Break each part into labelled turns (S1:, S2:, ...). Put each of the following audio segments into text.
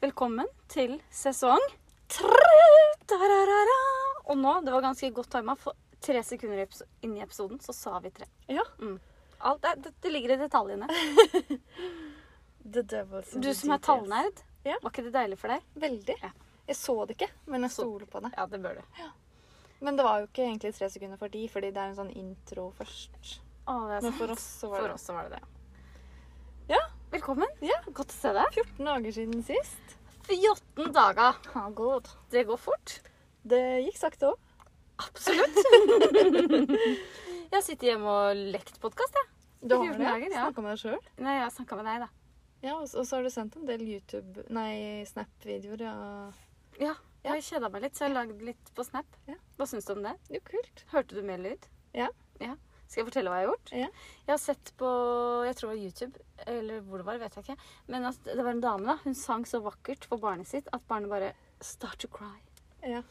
S1: velkommen til sesong tre! Tararara. Og nå, det var ganske godt tima, for tre sekunder i episo- inn i episoden så sa vi tre.
S2: Ja.
S1: Alt er, det, det ligger i detaljene.
S2: The Devil's in
S1: Du
S2: the
S1: som er
S2: details.
S1: tallnerd,
S2: Ja.
S1: var ikke det deilig for deg?
S2: Veldig.
S1: Ja.
S2: Jeg så det ikke, men jeg
S1: Så-
S2: stoler på det.
S1: Ja, det bør du.
S2: Men det var jo ikke egentlig tre sekunder for de, fordi det er en sånn intro først.
S1: Å, det er
S2: Men
S1: sant.
S2: for oss så var
S1: For
S2: det
S1: oss så var det det.
S2: Ja.
S1: Velkommen.
S2: Ja.
S1: Godt å se deg.
S2: 14 dager siden sist.
S1: 14 dager.
S2: Ha god.
S1: Det går fort.
S2: Det gikk sakte òg.
S1: Absolutt. jeg har sittet hjemme og lekt podkast, jeg.
S2: Du har
S1: 14
S2: det?
S1: dager, ja.
S2: Snakka med deg sjøl?
S1: Nei, jeg har snakka med deg, da.
S2: Ja, og så og så har du sendt en del YouTube Nei, Snap-videoer. Ja.
S1: Ja.
S2: Ja.
S1: Jeg kjeda meg litt, så jeg har lagd litt på Snap.
S2: Ja.
S1: Hva syns du om det?
S2: Det er jo kult.
S1: Hørte du mer lyd?
S2: Ja.
S1: Skal jeg fortelle hva jeg har gjort?
S2: Ja.
S1: Jeg har sett på jeg tror det var YouTube, eller hvor det var, vet jeg ikke. Men at det var en dame, da. Hun sang så vakkert for barnet sitt at barnet bare start to cry.
S2: Ja.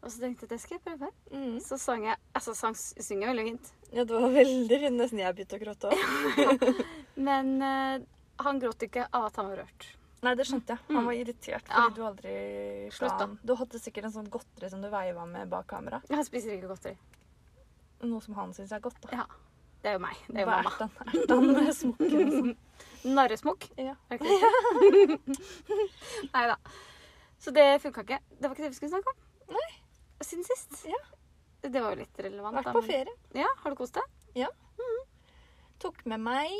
S1: Og så tenkte jeg at det skal jeg prøve.
S2: Mm.
S1: Så sang jeg Altså, sang, synger jeg veldig fint.
S2: ja, det var veldig Nesten jeg begynte å gråte òg.
S1: Men eh, han gråt ikke av at han var rørt.
S2: Nei, det skjønte jeg. Han var irritert fordi
S1: Mm. Ja.
S2: du aldri
S1: Slutt, da.
S2: han. Du hadde sikkert en sånn godteri som du veiva med bak kamera.
S1: Han spiser ikke godteri.
S2: Noe som han syns er godt, da.
S1: Ja. Det er jo meg. Det er jo
S2: Bare
S1: mamma.
S2: ertan, ertan med smokken og sånn.
S1: Narresmokk.
S2: Ja.
S1: Er det ikke det? Nei da. Så det funka ikke. Det var ikke det vi skulle snakke om.
S2: Nei.
S1: Siden sist.
S2: Ja.
S1: Det var jo litt relevant.
S2: Vært
S1: da,
S2: på
S1: men-
S2: ferie.
S1: Ja, Har du kost deg?
S2: Tok med meg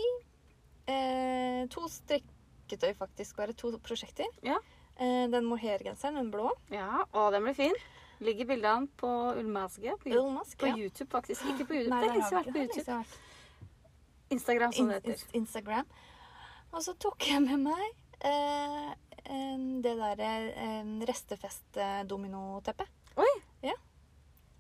S2: eh, to strikketøy, faktisk. Bare to prosjekter.
S1: Ja.
S2: Eh, den mohairgenseren, den blå.
S1: Ja. Å, den ble fin. Ligger bildene på Ulmaske. På, Yu-
S2: Ullmask.
S1: på YouTube, faktisk. Ikke på YouTube.
S2: Nei,
S1: det er lenge
S2: der har
S1: siden jeg
S2: vi
S1: har vært på
S2: ikke-
S1: YouTube.
S2: der har vi ikke
S1: Instagram, som sånn det
S2: vært. In-
S1: heter.
S2: in- Instagram. Og så tok jeg med meg eh, en- det derre eh, restefest-dominoteppet.
S1: Oi!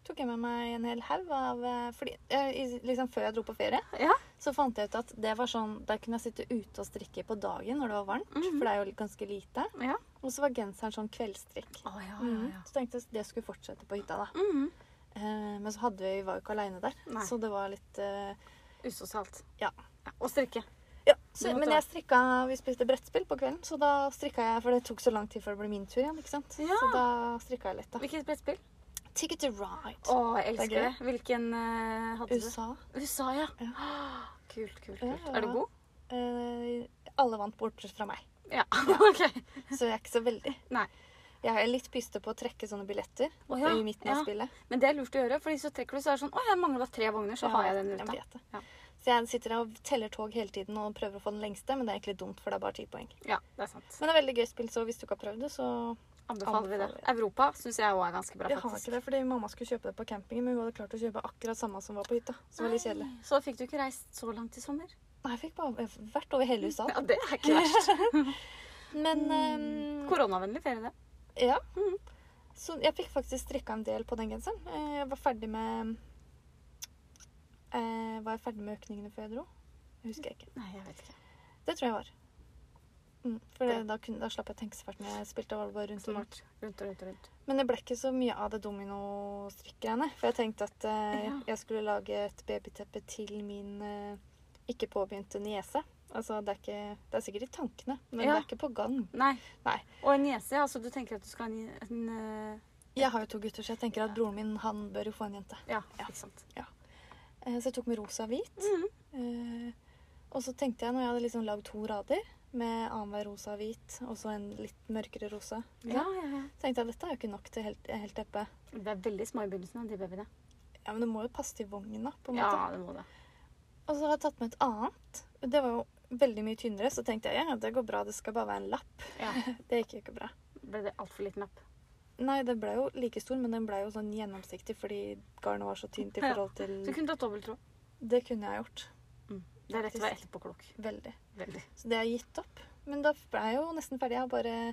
S2: Tok jeg med meg en hel haug av eh, Fordi eh, i- liksom før jeg dro på ferie,
S1: Ja.
S2: så fant jeg ut at det var sånn Der kunne jeg sitte ute og strikke på dagen når det var varmt,
S1: Mhm.
S2: for det er jo ganske lite.
S1: ja.
S2: Og så var genseren sånn kveldsstrikk.
S1: Å, Ah, ja,
S2: Mhm. Så tenkte jeg at det skulle fortsette på hytta, da.
S1: Mhm.
S2: Eh, men så hadde vi, vi var jo ikke aleine der,
S1: Nei.
S2: så det var litt eh,
S1: Usosialt.
S2: Ja.
S1: Og strikke.
S2: Ja,
S1: Du
S2: så,
S1: måtte
S2: men
S1: da-
S2: jeg strikka, vi spilte brettspill på kvelden, så da strikka jeg, for det tok så lang tid før det ble min tur igjen, ikke sant?
S1: Ja.
S2: Så da strikka jeg litt, da.
S1: Hvilket brettspill?
S2: Ticket to ride.
S1: Å, jeg elsker
S2: Det er
S1: det. Hvilken eh, hadde du?
S2: USA.
S1: USA, ja.
S2: Ja.
S1: Ah, Kult, kult,
S2: Ja,
S1: kult.
S2: ja,
S1: Er du
S2: ja.
S1: god?
S2: Eh, alle vant bortsett fra meg,
S1: Ja, ok.
S2: så jeg er ikke så veldig.
S1: Nei.
S2: Jeg er litt pyste på å trekke sånne billetter
S1: Å ja,
S2: i midten av
S1: ja.
S2: spillet.
S1: Men det er lurt å gjøre, for så trekker du så er det sånn Å, jeg mangler bare tre vogner, så
S2: Ja,
S1: har jeg den ruta.
S2: Jeg vet det.
S1: Ja.
S2: Så jeg sitter og teller tog hele tiden og prøver å få den lengste, men det er egentlig dumt, for det er bare ti poeng.
S1: Ja, det er sant.
S2: Men det er veldig gøy spill, så hvis du ikke har prøvd det, så
S1: Anbefaler vi det.
S2: Anbefaler.
S1: Europa syns jeg òg er ganske bra,
S2: Jeg har ikke det, fordi mamma skulle kjøpe det på campingen, men hun hadde klart å kjøpe akkurat samme som var på hytta. Så det var litt kjedelig.
S1: Nei, Så fikk du ikke reist så langt i sommer.
S2: Nei, jeg fikk bare jeg har vært over hele USA.
S1: Ja, Mm. det er ikke verst.
S2: Men ehm,
S1: Koronavennlig ferie, det.
S2: ja.
S1: Mm.
S2: Så jeg fikk faktisk strikka en del på den genseren. Eh, Jeg var ferdig med eh, Var jeg ferdig med økningene før jeg dro? Jeg husker jeg ikke.
S1: Nei, jeg vet ikke.
S2: Det tror jeg var. Mm, for
S1: Ja.
S2: det, da, kunne, da slapp jeg tenke så fælt når jeg spilte. Var det bare rundt og rundt.
S1: Smart. Rundt og rundt og rundt.
S2: Men det ble ikke så mye av det dominostrikkgreiene. For jeg tenkte at eh,
S1: Ja.
S2: jeg skulle lage et babyteppe til min eh, ikke påbegynte niese. Altså, det er, ikke, det er sikkert i tankene, men
S1: Ja.
S2: det er ikke på gang.
S1: Nei.
S2: Nei.
S1: Og en niese, altså du tenker at du skal ha en, en eh,
S2: Jeg har jo to gutter, så jeg tenker at broren min han bør jo få en jente.
S1: ja,
S2: Ja.
S1: ikke sant.
S2: Eh, Så jeg tok med rosa og hvit.
S1: Mhm.
S2: Eh, Og så tenkte jeg, når jeg hadde liksom lagd to rader med annenhver rosa og hvit, og så en litt mørkere rosa,
S1: Ja, ja, ja.
S2: så tenkte jeg dette er jo ikke nok til helt, helt teppe.
S1: Det er veldig små i begynnelsen av de babyene.
S2: Ja, men det må jo passe til vogna, på en
S1: Ja,
S2: måte.
S1: det må det.
S2: Og så har jeg tatt med et annet. Det var jo veldig mye tynnere, så tenkte jeg ja, det går bra, det skal bare være en lapp.
S1: Ja.
S2: Det gikk jo ikke bra.
S1: Ble det altfor liten lapp?
S2: Nei, den ble jo like stor, men den ble jo sånn gjennomsiktig fordi garnet var så tynt i
S1: Ja.
S2: forhold til
S1: Du kunne tatt dobbelttråd.
S2: Det kunne jeg gjort.
S1: Det er lett å være etterpåklok.
S2: Veldig.
S1: Veldig.
S2: Så det har jeg gitt opp. Men da ble jeg jo nesten ferdig. Jeg har bare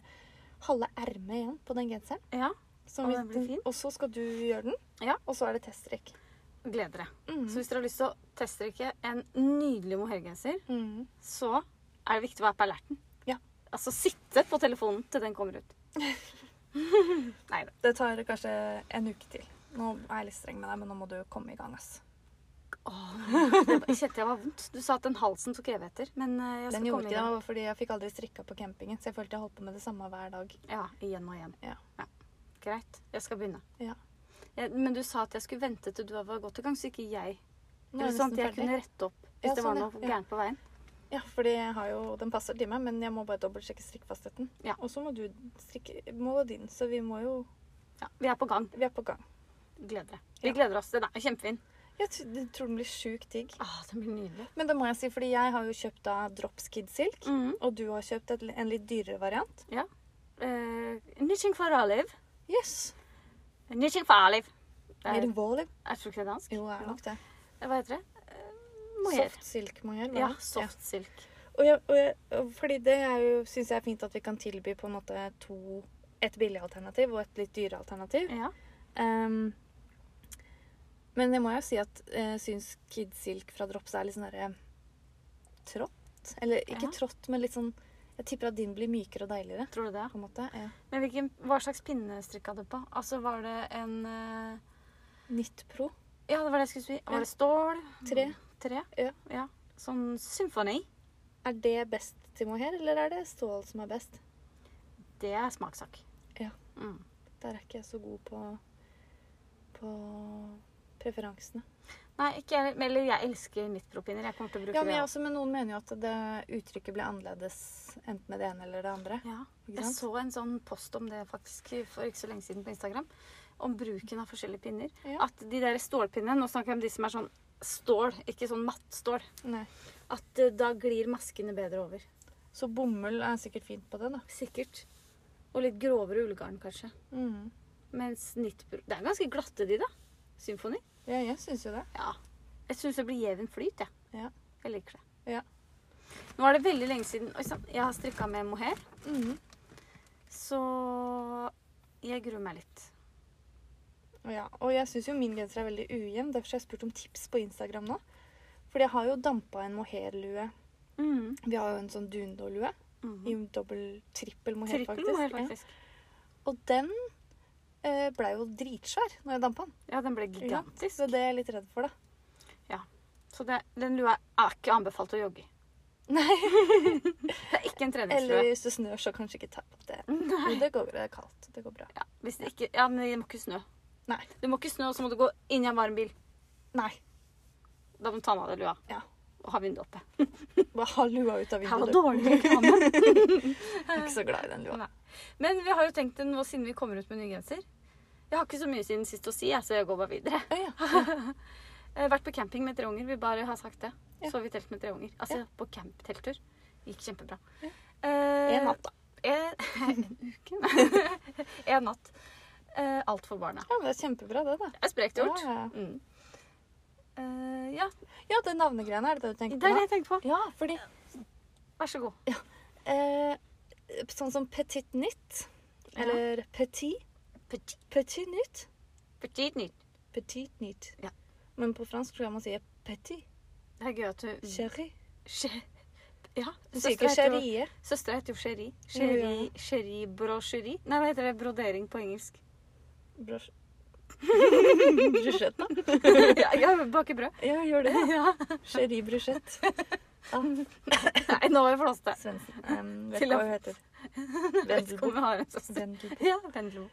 S2: halve ermet igjen på den genseren.
S1: Ja.
S2: Som
S1: Å,
S2: vi-
S1: den blir fin.
S2: Og så skal du gjøre den.
S1: Ja.
S2: Og så er det teststrikk.
S1: Gleder deg.
S2: Mm.
S1: Så hvis dere har lyst til å teststrikke en nydelig mohairgenser,
S2: Mm.
S1: så er det viktig å være på alerten.
S2: Ja.
S1: Altså sitte på telefonen til den kommer ut. Nei da.
S2: Det tar kanskje en uke til. Nå er jeg litt streng med deg, men nå må du komme i gang. ass.
S1: Åh, det var- jeg kjente jeg var vondt. Du sa at den halsen tok evig etter. Men eh, jeg skal
S2: Den gjorde
S1: komme
S2: ikke det,
S1: igjen.
S2: det var fordi jeg fikk aldri strikka på campingen, så jeg følte jeg holdt på med det samme hver dag.
S1: Ja, igjen og igjen.
S2: Ja.
S1: Greit, jeg skal begynne.
S2: Ja.
S1: Jeg, men du sa at jeg skulle vente til du var godt i gang, så ikke jeg
S2: Nå
S1: Eller
S2: er jeg
S1: sånn at
S2: nesten
S1: jeg
S2: ferdig.
S1: kunne rette opp hvis
S2: Ja,
S1: det var
S2: sånn, ja.
S1: noe
S2: Ja.
S1: gærent på veien.
S2: Ja, fordi jeg har jo, den passer til meg, men jeg må bare dobbeltsjekke strikkfastheten.
S1: Ja.
S2: Og så må du strikke må din, så vi må jo
S1: Ja, vi er på gang.
S2: Vi er på gang.
S1: Gleder deg. Vi
S2: Ja.
S1: gleder oss. Den er kjempefin.
S2: Jeg t- jeg tror den blir sjukt digg.
S1: Ah, den blir nydelig.
S2: Men det må jeg si, fordi jeg har jo kjøpt da Drops Kid Silk.
S1: Mhm.
S2: Og du har kjøpt et, en litt dyrere variant.
S1: Eh, Knitting for Olive.
S2: Yes.
S1: Knitting for Olive. Det er,
S2: Mer vålig.
S1: jeg tror ikke det er dansk.
S2: Jo, er nok det.
S1: Hva heter det? Eh, mohair.
S2: Soft silk mohair. hva?
S1: Ja, soft silk.
S2: Ja. Og jeg, og jeg, og fordi det er jo, syns jeg er fint at vi kan tilby på en måte to Et billig alternativ og et litt dyre alternativ.
S1: Ja.
S2: Ehm, men jeg må jo si at jeg syns Kid Silk fra Drops er litt sånn derre trått. Eller ikke
S1: Ja.
S2: trått, men litt sånn Jeg tipper at din blir mykere og deiligere.
S1: Tror du det?
S2: På en måte. Ja.
S1: Men hvilken, hva slags pinne strikka du på? Altså, var det en eh,
S2: Nytt Pro
S1: Ja, det var det jeg skulle si.
S2: Ja.
S1: Var det stål?
S2: 3.
S1: Tre?
S2: Ja.
S1: Sånn symfoni.
S2: Er det best til mohair, eller er det stål som er best?
S1: Det er smakssak.
S2: Ja.
S1: Mm.
S2: Der er ikke jeg så god på, på preferansene.
S1: Nei, ikke jeg heller. Eller jeg elsker nittpropiner. Jeg kommer til å bruke
S2: Ja, men, jeg
S1: det.
S2: også, men noen mener jo at det uttrykket blir annerledes enten med det ene eller det andre.
S1: Ja.
S2: Ikke
S1: Jeg
S2: sant?
S1: så en sånn post om det faktisk for ikke så lenge siden på Instagram. Om bruken av forskjellige pinner.
S2: Ja.
S1: At de der stålpinnene Nå snakker jeg om de som er sånn stål, ikke sånn mattstål.
S2: Nei.
S1: At eh, da glir maskene bedre over.
S2: Så bomull er sikkert fint på det, da.
S1: Sikkert. Og litt grovere ullgarn, kanskje.
S2: Mm.
S1: Mens nittpro... Det er ganske glatte, de, da. Symfoni.
S2: Ja, jeg syns jo det.
S1: Ja. Jeg syns det blir jevn flyt, jeg.
S2: Ja.
S1: Jeg liker det.
S2: Ja.
S1: Nå er det veldig lenge siden Oi sann, jeg har strikka med mohair,
S2: Mhm.
S1: så jeg gruer meg litt.
S2: Ja, og jeg syns jo min genser er veldig ujevn. Derfor har jeg spurt om tips på Instagram nå. Fordi jeg har jo dampa en mohairlue. Vi har jo en sånn dundollue. I
S1: Mhm.
S2: en dobbel, trippel mohair,
S1: Trippel
S2: faktisk.
S1: mohair, faktisk.
S2: Ja. Og den eh, blei jo dritsvær når jeg dampa den.
S1: Ja, den ble
S2: Ja,
S1: gigantisk.
S2: Så det er jeg litt redd for, da.
S1: Så det, den lua er ikke anbefalt å jogge i.
S2: Nei,
S1: Det er ikke en
S2: Eller
S1: treningslue.
S2: hvis det snør, så kanskje ikke ta på det. Men det går bra. Det er kaldt. Det går bra.
S1: Ja, hvis det ikke, ja, men det må ikke snø.
S2: Nei.
S1: Du må ikke snø, og så må du gå inn i en varm bil.
S2: Nei.
S1: Da må du ta med deg lua.
S2: Ja.
S1: Og ha vinduet oppe.
S2: Bare ha lua ut av
S1: Her var
S2: vinduet.
S1: dårlig reklame.
S2: Jeg er ikke så glad i den lua.
S1: Nei. Men vi har jo tenkt det nå siden vi kommer ut med ny genser. Jeg har ikke så mye siden sist å si, jeg, så jeg går bare videre.
S2: Å, ja.
S1: Jeg har vært på camping med tre unger. Vi bare har sagt det.
S2: Ja.
S1: Sov i telt med tre unger. Altså
S2: Ja.
S1: på camp-telttur. Gikk kjempebra.
S2: Ja.
S1: Eh,
S2: En natt, da.
S1: En, en uke? en natt. Eh, alt for barna.
S2: Ja, men det er kjempebra, det, da.
S1: Det er sprekt gjort.
S2: Ja, ja.
S1: Mm. Eh, ja,
S2: Ja, det navnegreiene er det det du
S1: det
S2: tenker
S1: er det
S2: på?
S1: jeg tenkte på.
S2: Ja, fordi
S1: Vær så god.
S2: eh, Sånn som petit nytt,
S1: Ja.
S2: eller petit
S1: Petit,
S2: Petit nytt.
S1: petit nytt.
S2: Petit nytt.
S1: Ja.
S2: Men på fransk tror jeg man sier petit.
S1: Det er gøy at du
S2: Chéri.
S1: Che- Ja.
S2: Du sier ikke
S1: heter jo-
S2: chérie.
S1: Søstera heter jo Cherie.
S2: Ja,
S1: Cherie,
S2: ja.
S1: cherie brosjeri. Nei, hva heter det? Brodering på engelsk.
S2: Brosj... Bruschetta.
S1: ja, ja, bake brød.
S2: Ja, gjør det.
S1: Ja.
S2: Chéri bruschett.
S1: Nei, nå var det flåste.
S2: Svendsen. Um, vet
S1: Til
S2: hva
S1: å-
S2: hun heter.
S1: Vet ikke om
S2: Vendelbo.
S1: jeg har en søster.
S2: Vendelbo.
S1: Ja, Vendelbo.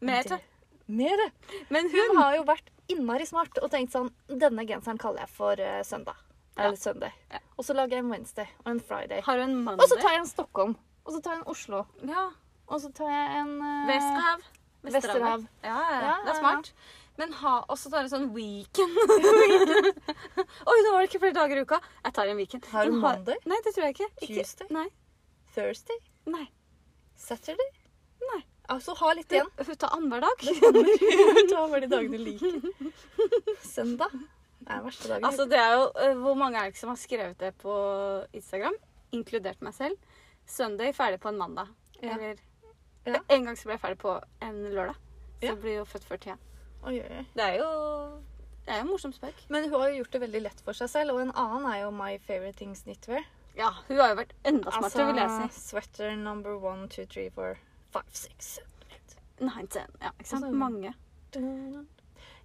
S1: Men, jeg tror-
S2: Mere.
S1: men
S2: Hun
S1: hun
S2: har jo vært innmari smart og tenkt sånn Denne genseren kaller jeg for eh, søndag. Eller søndag.
S1: Ja.
S2: Og så lager jeg en Wednesday og en Friday.
S1: har en
S2: Og så
S1: mandag.
S2: tar jeg en Stockholm. Og så tar jeg en Oslo.
S1: Ja.
S2: Og så tar jeg en eh,
S1: Vesterhav.
S2: Vesterhav.
S1: Ja, ja,
S2: Ja,
S1: ja, det
S2: ja,
S1: er smart. Men ha også tar en sånn weekend. Oi, nå var det ikke flere dager i uka. Jeg tar en weekend.
S2: Har hun
S1: Men
S2: mandag?
S1: Nei, det tror jeg ikke. ikke.
S2: Tuesday?
S1: Nei.
S2: Thursday.
S1: Nei.
S2: Saturday.
S1: Nei.
S2: Altså ha litt
S1: Hun,
S2: igjen.
S1: hun tar annenhver dag.
S2: Ta bare de dagene du liker. Søndag. Det er den verste dagen.
S1: Altså, det er jo eh, Hvor mange er det ikke som har skrevet det på Instagram? Inkludert meg selv. Søndag ferdig på en mandag.
S2: Ja.
S1: Eller
S2: Ja.
S1: En gang så ble jeg ferdig på en lørdag. Så
S2: Ja.
S1: blir jo født før tida.
S2: Oi, oi, oi.
S1: Det er jo Det er jo en morsom spøk.
S2: Men hun har jo gjort det veldig lett for seg selv. Og en annen er jo My Favorite Things Knitwear.
S1: Ja, hun har jo vært enda smartere, vil
S2: Altså,
S1: jeg si.
S2: sweater number one, two, three, four, five, six.
S1: Nei, ikke- ja, ikke sant?
S2: Altså-
S1: Mange.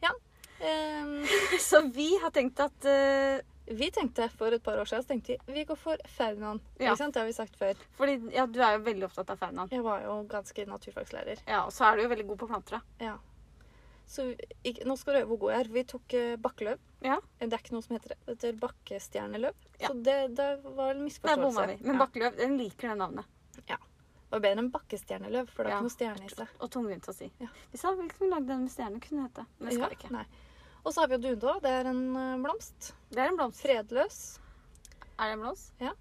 S2: Ja. Ehm,
S1: Så vi har tenkt at eh,
S2: vi tenkte for et par år siden så tenkte vi, vi går for faunaen.
S1: Ja.
S2: Ikke sant? Det har vi sagt før.
S1: Fordi ja, du er jo veldig opptatt av faunaen.
S2: Jeg var jo ganske naturfagslærer.
S1: Ja, og så er du jo veldig god på planter, da.
S2: Ja. Så vi- ikke, nå skal du øve hvor god jeg er. Vi tok eh, bakkeløv. Eh,
S1: Ja.
S2: Det er ikke noe som heter det. Det heter bakkestjerneløv.
S1: Ja.
S2: Så det, det var en
S1: Der
S2: misforståelse.
S1: bomma vi. Men
S2: ja.
S1: bakkeløv, den liker det navnet.
S2: Det var bedre enn bakkestjerneløv, for det er
S1: Ja.
S2: ikke noe stjerne i seg.
S1: Og tungvint å si.
S2: Ja.
S1: Vi sa vel kunne vi lagd den med stjerne, kunne det hete. Men det skal vi ikke.
S2: Nei. Og så har vi jo dundå. Det er en eh, blomst.
S1: Det er en blomst.
S2: Fredløs.
S1: Er det en blomst?
S2: Ja.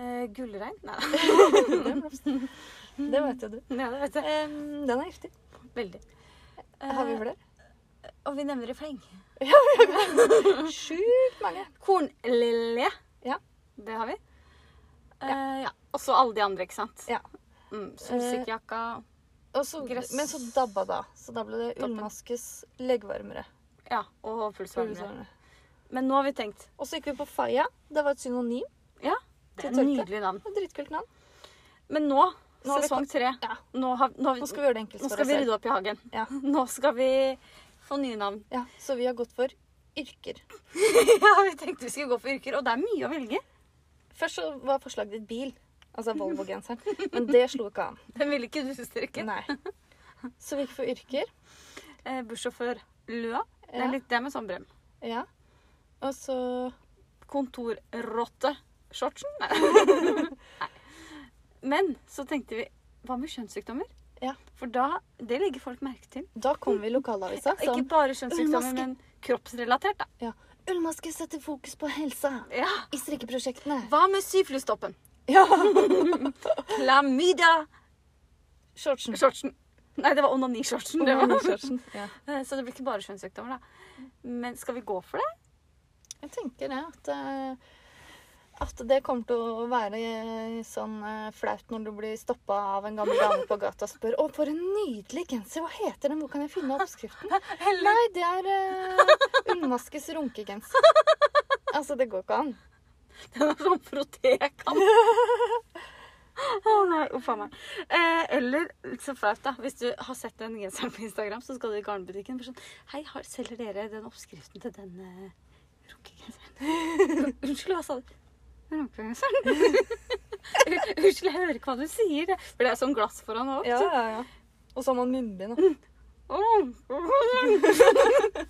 S1: Eh, gullrein? Nei da.
S2: det er en blomst. Det vet jo du.
S1: Ja, det vet jeg.
S2: Em, den er giftig.
S1: Veldig. Eh,
S2: Har vi flere?
S1: og vi nevner i fleng. Eh.
S2: Sjukt mange.
S1: Kornlilje.
S2: Ja.
S1: Det har vi. Eh, ja. Og så alle de andre, ikke sant.
S2: Ja. Eh,
S1: Mm, Solsikkejakka.
S2: Og så,
S1: Gress.
S2: men så dabba da. Så da ble det
S1: Toppen.
S2: ullmaskes leggvarmere.
S1: Ja, og pulsvarmere.
S2: Ullvarmere.
S1: Men nå har vi tenkt.
S2: Og så gikk vi på Faya. Det var et synonym.
S1: Det er
S2: Til
S1: et
S2: tørke.
S1: nydelig navn.
S2: Det var et Dritkult navn.
S1: Men nå,
S2: Nå har vi
S1: sesong
S2: fått-
S1: tre,
S2: Ja.
S1: nå, har, nå, har vi,
S2: Nå skal vi gjøre det enkelt
S1: nå
S2: for
S1: skal
S2: oss
S1: vi
S2: selv.
S1: rydde opp i hagen.
S2: Ja.
S1: Nå skal vi få nye navn.
S2: Ja, så vi har gått for yrker.
S1: Ja, vi tenkte vi skulle gå for yrker, og det er mye å velge.
S2: Først så var forslaget ditt bil. Altså Volvo-genseren. Men det slo ikke an.
S1: Den ville ikke du strekke.
S2: Nei. Så vi gikk for yrker.
S1: Eh, Bussjåfør Lua. Det
S2: Ja.
S1: er litt det med sånn brem.
S2: Ja. Og så
S1: Kontorrotte shortsen. Nei. Nei. Men så tenkte vi hva med kjønnssykdommer?
S2: Ja.
S1: For da, det legger folk merke til.
S2: Da kom vi i lokalavisa som
S1: Ikke bare kjønnssykdommer,
S2: Ullmaske.
S1: men kroppsrelatert, da.
S2: ja. Ullmaske setter fokus på helsa
S1: Ja.
S2: i strikkeprosjektene.
S1: Hva med syflustoppen?
S2: Ja.
S1: Klamydia
S2: Shortsen.
S1: shortsen. Nei, det var onanishortsen. det var.
S2: Shortsen. Ja.
S1: Eh, Så det blir ikke bare kjønnssykdommer, da. Men skal vi gå for det?
S2: Jeg tenker det, at, eh, at det kommer til å være eh, sånn eh, flaut når du blir stoppa av en gammel dame på gata og spør Å, for en nydelig genser! Hva heter den? Hvor kan jeg finne oppskriften? Nei, det er eh, Ullmaskes runkegenser. Altså, det går ikke an.
S1: Den er sånn protekan. Å nei, uff a meg. Eh, eller så flaut, da. Hvis du har sett den genseren på Instagram, så skal du i garnbutikken og sånn Hei, har, selger dere den oppskriften til den eh, runkegenseren? Unnskyld, hva sa du? Runkegenseren? Unnskyld, jeg hører ikke hva du sier. jeg. For det er sånn glass foran òg.
S2: Ja, ja, Mm. ja. Og så har man munnbind. da.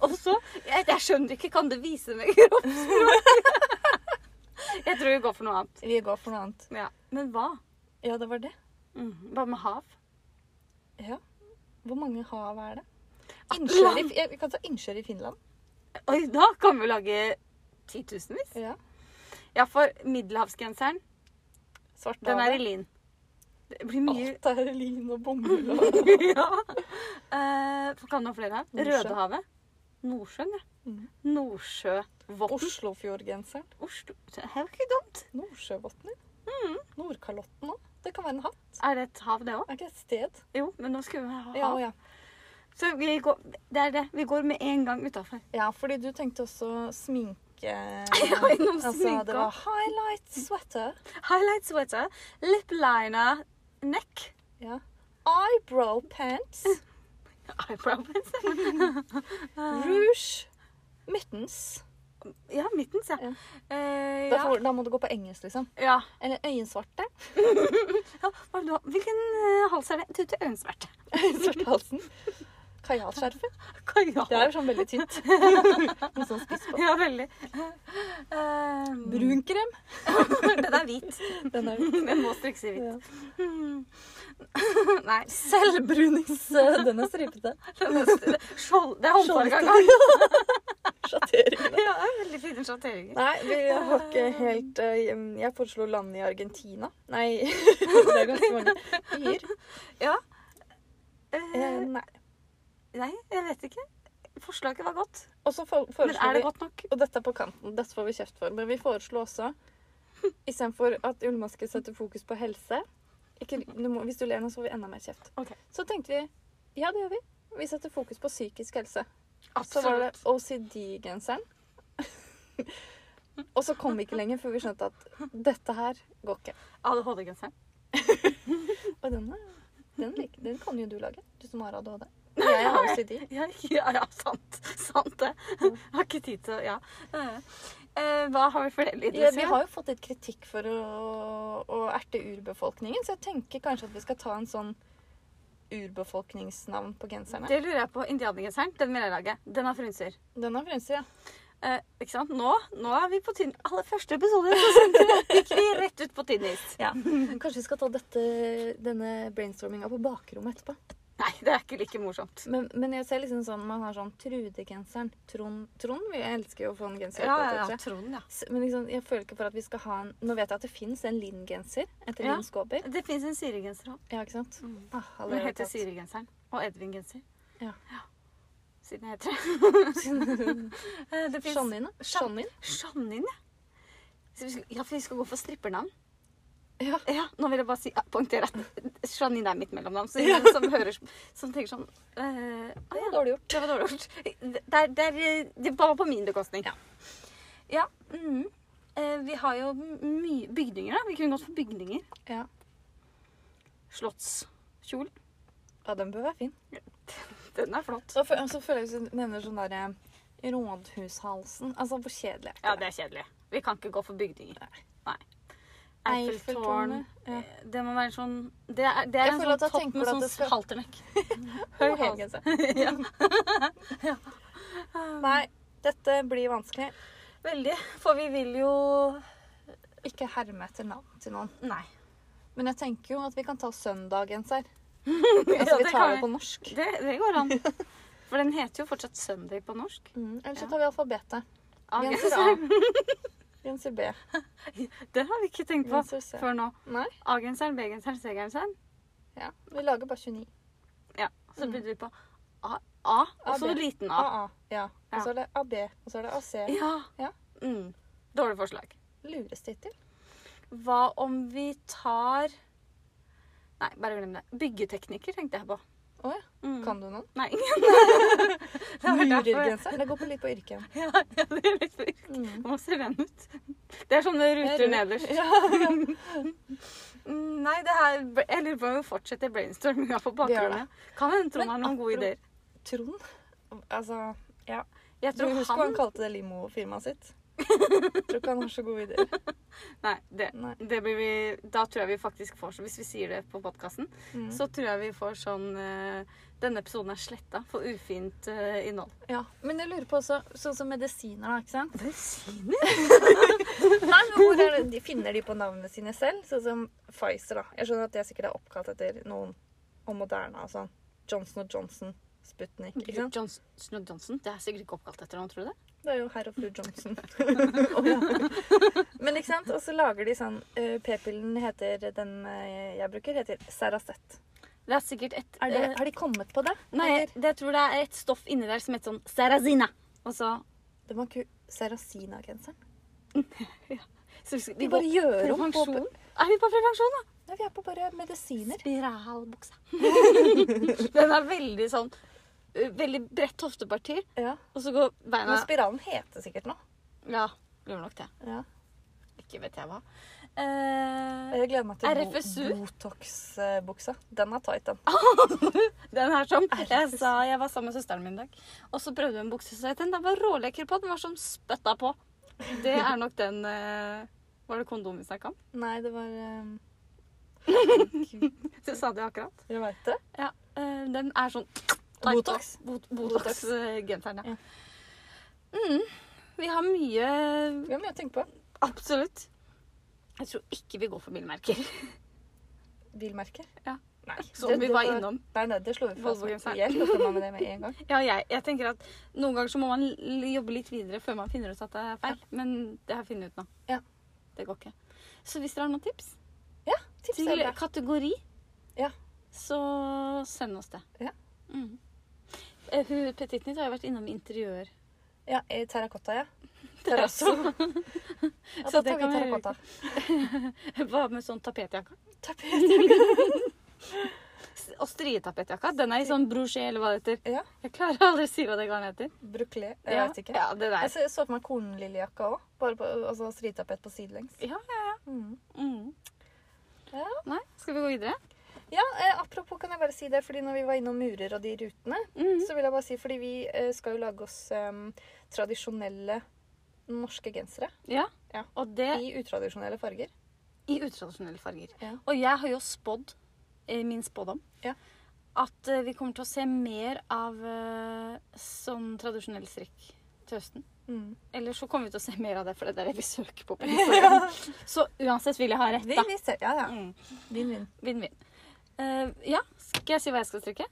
S1: Og så jeg, jeg skjønner ikke. Kan du vise meg kroppsspråket? jeg tror vi går for noe annet.
S2: Vi går for noe annet.
S1: Ja. Men hva?
S2: Ja, det var det.
S1: Mm, hva med hav?
S2: Ja. Hvor mange hav er det?
S1: Atlan-
S2: Innsjøer i, ja, vi kan ta innsjøer i Finland.
S1: Oi, da kan vi lage titusenvis.
S2: Ja.
S1: Ja, for middelhavsgenseren, den er i
S2: Svartehavet.
S1: lin. Det blir mye
S2: Alt er i lin og bomull og
S1: Ja. Eh, kan du ha flere her?
S2: Nordsjø.
S1: Rødehavet. Nordsjøen, ja.
S2: Mhm.
S1: Nordsjøvåten.
S2: Oslofjordgenseren.
S1: Oslo. Det er jo ikke dumt.
S2: Nordsjøbotner?
S1: Mm.
S2: Nordkalotten òg? Det kan være en hatt.
S1: Er det et hav, det òg?
S2: Er ikke et sted?
S1: Jo, men nå skulle vi ha hav.
S2: Ja, ja.
S1: Så vi går, det er det. Vi går med en gang utafor.
S2: ja, fordi du tenkte også sminke
S1: innom
S2: Altså,
S1: sminke
S2: det var highlight sweater.
S1: Highlight sweater, lip liner, neck.
S2: Ja. Eyebrow pants.
S1: Eyebrow pencil.
S2: Rouge. Mittens.
S1: Ja, mittens, ja.
S2: Ja.
S1: Eh,
S2: Da,
S1: ja.
S2: får, da må du gå på engelsk, liksom.
S1: ja.
S2: Eller øyensvarte.
S1: ja. Hva er det du har? Hvilken eh, hals er det? Tute øyensverte.
S2: Svarthalsen. Kajalskjerfet.
S1: Kajal.
S2: Det er jo sånn veldig tynt. Med sånn spiss på.
S1: Ja, veldig. Eh,
S2: Ehm, Brunkrem.
S1: Den er hvit.
S2: Den er jo
S1: Den må strikkes i hvit.
S2: Ja.
S1: Hmm. Nei.
S2: Selvbrunings... Den er stripete.
S1: Den er st- skjold- Det er håndfarga gang.
S2: Sjatteringen.
S1: Ja, det er veldig fine sjatteringer.
S2: Nei, vi har ikke helt eh, Jeg foreslo landet i Argentina. Nei, det er ganske mange byer. Eh,
S1: Eh,
S2: nei.
S1: nei, jeg vet ikke. Forslaget var godt.
S2: Og så for-
S1: Men
S2: foreslo
S1: er det
S2: vi
S1: godt nok?
S2: Og dette er på kanten, dette får vi kjeft for. Men vi foreslo også, istedenfor at ullmaske setter fokus på helse ikke, du må, Hvis du ler nå, så får vi enda mer kjeft.
S1: Ok.
S2: Så tenkte vi ja, det gjør vi. Vi setter fokus på psykisk helse. Så var det OCD-genseren. Og så kom vi ikke lenger, for vi skjønte at dette her går ikke.
S1: ADHD-genseren.
S2: eh, Og den, er- den, lik- den kan jo du lage, du som har ADHD. Jeg har jo CD.
S1: Ja, ja, ja sant. Sant det. Jeg har ikke tid til å Ja. Eh, eh, hva har vi for det,
S2: Ja,
S1: Lidelsen?
S2: vi har jo fått litt kritikk for å, å erte urbefolkningen, så jeg tenker kanskje at vi skal ta en sånn urbefolkningsnavn på genserne.
S1: Det lurer jeg på. Indianergenseren, den vil jeg lage. Den har frynser.
S2: Den har frynser, ja.
S1: Eh, ikke sant? Nå, nå er vi på tynn Aller første episode så gikk vi rett ut på tynn is.
S2: Kanskje vi skal ta dette, denne brainstorminga på bakrommet etterpå.
S1: Nei, det er ikke like morsomt.
S2: Men, men jeg ser liksom sånn, man har sånn Trude-genseren. Trond, Trond, vi elsker jo å få en genser.
S1: Ja,
S2: på,
S1: ja, ja.
S2: kanskje.
S1: Trond, ja.
S2: S- Men liksom, jeg føler ikke for at vi skal ha en Nå vet jeg at det fins en Linn-genser etter
S1: Ja.
S2: Linn Skåber.
S1: Det fins en Siri-genser òg.
S2: Ja, ikke sant?
S1: Mm.
S2: Ah,
S1: Den
S2: allerede
S1: heter
S2: tatt.
S1: Siri-genseren. Og Edvin-genser.
S2: Ja.
S1: Siden jeg heter det. Eh, det. finnes-
S2: Janine? Janine?
S1: Janine, ja. Så vi skal- Ja, for vi skal gå for strippernavn.
S2: Ja.
S1: Ja, nå vil jeg bare si, ja, poengtere at Janine er mitt mellomnavn. Så
S2: Ja.
S1: ingen som hører, som tenker sånn eh, ah,
S2: Det
S1: ja,
S2: var dårlig gjort.
S1: Det var dårlig gjort. Det, er- det, er, eh, det var på min bekostning.
S2: Ja.
S1: Ja, mhm. Eh, vi har jo mye bygninger, da. Vi kunne gått for bygninger.
S2: Ja.
S1: Slottskjol.
S2: ja, den bør være fin.
S1: Den er flott.
S2: Så, fø- så føler jeg hvis du nevner sånn derre Rådhushalsen. Altså, hvor kjedelig er
S1: Ja,
S2: ikke
S1: det er kjedelig. Vi kan ikke gå for bygninger.
S2: Nei.
S1: Nei. Eiffeltårn.
S2: Eiffeltårnet, ja.
S1: eh, Det må være sånn Det er, det er
S2: Jeg
S1: en
S2: føler at
S1: sånn
S2: da
S1: topp
S2: tenker
S1: med
S2: du at
S1: sånn
S2: det skal-
S1: halternøkk.
S2: Høy
S1: Høy hals.
S2: helgenser.
S1: ja.
S2: Nei, dette blir vanskelig.
S1: Veldig. For vi vil jo
S2: Ikke herme etter navn til noen.
S1: Nei.
S2: Men jeg tenker jo at vi kan ta søndagens her.
S1: Ja,
S2: Altså, vi
S1: det
S2: tar
S1: kan
S2: det på norsk.
S1: Det, det går an. For den heter jo fortsatt Sunday på norsk.
S2: Mm, Eller så
S1: Ja.
S2: tar vi alfabetet.
S1: Ah,
S2: Genser A. Genser B.
S1: Den har vi ikke tenkt på
S2: Genser C.
S1: før nå.
S2: Nei.
S1: A-genseren, B-genseren, C-genseren.
S2: Ja. Vi lager bare 29.
S1: Ja. Så
S2: Mm.
S1: begynner vi på A, A og så
S2: AB.
S1: liten A.
S2: AA. Ja. Og så er det AB. Og så er det AC.
S1: Ja.
S2: Ja.
S1: Mm. Dårlig forslag.
S2: Lurestittel.
S1: Hva om vi tar Nei, bare glem det. Byggeteknikker tenkte jeg på.
S2: Å ja.
S1: Mm.
S2: Kan du noen?
S1: Nei.
S2: Murergenser. Det går på litt på yrket.
S1: Ja, ja, det er litt for...
S2: Mm.
S1: Hvordan ser den ut? Det er sånne ruter
S2: Rød.
S1: nederst.
S2: Ja.
S1: Mm, Nei, det her, jeg lurer på om vi fortsetter brainstorminga på
S2: Vi gjør
S1: bakrommet. Kan hende Trond har
S2: Men
S1: noen gode
S2: apro-
S1: ideer.
S2: Trond Altså
S1: Jeg
S2: Du
S1: tror
S2: husker hva
S1: han
S2: han kalte det limofirmaet sitt? Tror ikke han har så gode ideer.
S1: Nei, det,
S2: Nei.
S1: det blir vi Da tror jeg vi faktisk får så Hvis vi sier det på podkasten,
S2: Mm.
S1: så tror jeg vi får sånn eh, Denne episoden er sletta for ufint eh, innhold.
S2: Ja. Men jeg lurer på også, sånn som medisiner, da, ikke sant?
S1: Medisiner?
S2: Nei, men hvor er det, de Finner de på navnene sine selv? Sånn som Pfizer, da. Jeg skjønner at det sikkert er oppkalt etter noen og Moderna og sånn. Johnson og Johnson. Sputnik. ikke sant?
S1: Johnson Johnson? Det er sikkert ikke oppkalt etter noen, tror du det?
S2: Det er jo herr og fru Johnson. Men ikke sant? Og så lager de sånn eh, P-pillen heter Den eh, jeg bruker, heter Saracet.
S1: Det er sikkert et
S2: Er det,
S1: eh,
S2: har de kommet på det?
S1: Nei,
S2: Eller?
S1: det, jeg tror det er et stoff inni der som heter sånn Sarazina. Og så
S2: Det var ikke Saracina-genseren.
S1: Så vi skal-
S2: Vi
S1: vi
S2: bare
S1: går-
S2: gjør om på
S1: Prevensjon? Er vi på prevensjon, da?
S2: Nei, vi er på bare medisiner.
S1: Spiralbuksa. Den er veldig sånn ø, Veldig bredt hofteparti,
S2: Ja.
S1: og så går
S2: Men
S1: beina
S2: spiralen heter sikkert noe.
S1: Ja, gjør nok det.
S2: Ja.
S1: Ikke vet jeg hva. Eh,
S2: Jeg gleder meg til Bo-
S1: RFSU?
S2: Botox-buksa. Den er tight,
S1: Ah.
S2: den.
S1: den her som jeg
S2: RFS.
S1: sa jeg var sammen med søsteren min i dag, og så prøvde hun bukse, så het den. Den var rålekker på. Den var som spytta på. Det er nok den eh, Var det kondom vi snakka om?
S2: Nei, det var um...
S1: Du sa det akkurat.
S2: Jeg veit det.
S1: Ja, eh, den er sånn
S2: Botox?
S1: Bot
S2: Botox.
S1: Botox-genseren, ja.
S2: Ja.
S1: Mm, vi har mye
S2: Vi har mye å tenke på.
S1: Absolutt. Jeg tror ikke vi går for bilmerker.
S2: Bilmerker.
S1: Ja.
S2: Nei.
S1: Som vi var innom.
S2: Nei, nei, det slo vi fra oss.
S1: Volvo-genseren.
S2: Jeg slo fra meg med det med en gang.
S1: Ja, jeg, jeg tenker at Noen ganger så må man l- jobbe litt videre før man finner ut at det er feil. Men det har jeg funnet ut nå.
S2: Ja.
S1: Det går ikke. Så hvis dere har noen tips
S2: Ja, tips er
S1: til
S2: bra.
S1: kategori,
S2: Ja.
S1: så send oss det.
S2: Ja.
S1: Mm. Eh, Hun Petitnit har jo vært innom interiør.
S2: Ja, eh, terrakotta, ja. Terrasso. Ja,
S1: Så
S2: da
S1: det
S2: tar vi
S1: kan vi-
S2: terrakotta.
S1: Hva med sånn tapetjakke?
S2: Tapet.
S1: Og strietapetjakka. Den er i sånn brosjé, eller hva det heter.
S2: Ja.
S1: Jeg klarer aldri å si hva det garnet heter.
S2: Brukle. Jeg
S1: Ja,
S2: vet ikke.
S1: Ja, det
S2: Jeg
S1: der.
S2: så, jeg så på meg kornlillejakka òg. Bare på altså, stritapet på sidelengs.
S1: Ja, ja.
S2: Mm.
S1: Mm.
S2: Ja.
S1: Nei, skal vi gå videre?
S2: Ja, eh, apropos kan jeg bare si det, fordi når vi var innom murer og de rutene,
S1: Mhm.
S2: så vil jeg bare si, fordi vi eh, skal jo lage oss em, tradisjonelle norske gensere
S1: Ja.
S2: Ja.
S1: Og det
S2: i utradisjonelle farger.
S1: i utradisjonelle farger.
S2: Ja.
S1: Og jeg har jo spådd, eh, min spådom,
S2: Ja.
S1: at eh, vi kommer til å se mer av eh, sånn tradisjonell strikk til høsten.
S2: Mm.
S1: Eller så kommer vi til å se mer av det, for det er det vi søker på. på Instagram. Så uansett vil jeg ha rett,
S2: Vi,
S1: da.
S2: vi ser, ja, ja.
S1: Mm.
S2: Vinn-vinn.
S1: Vinn-vinn. Eh, ja, skal jeg si hva jeg skal strikke?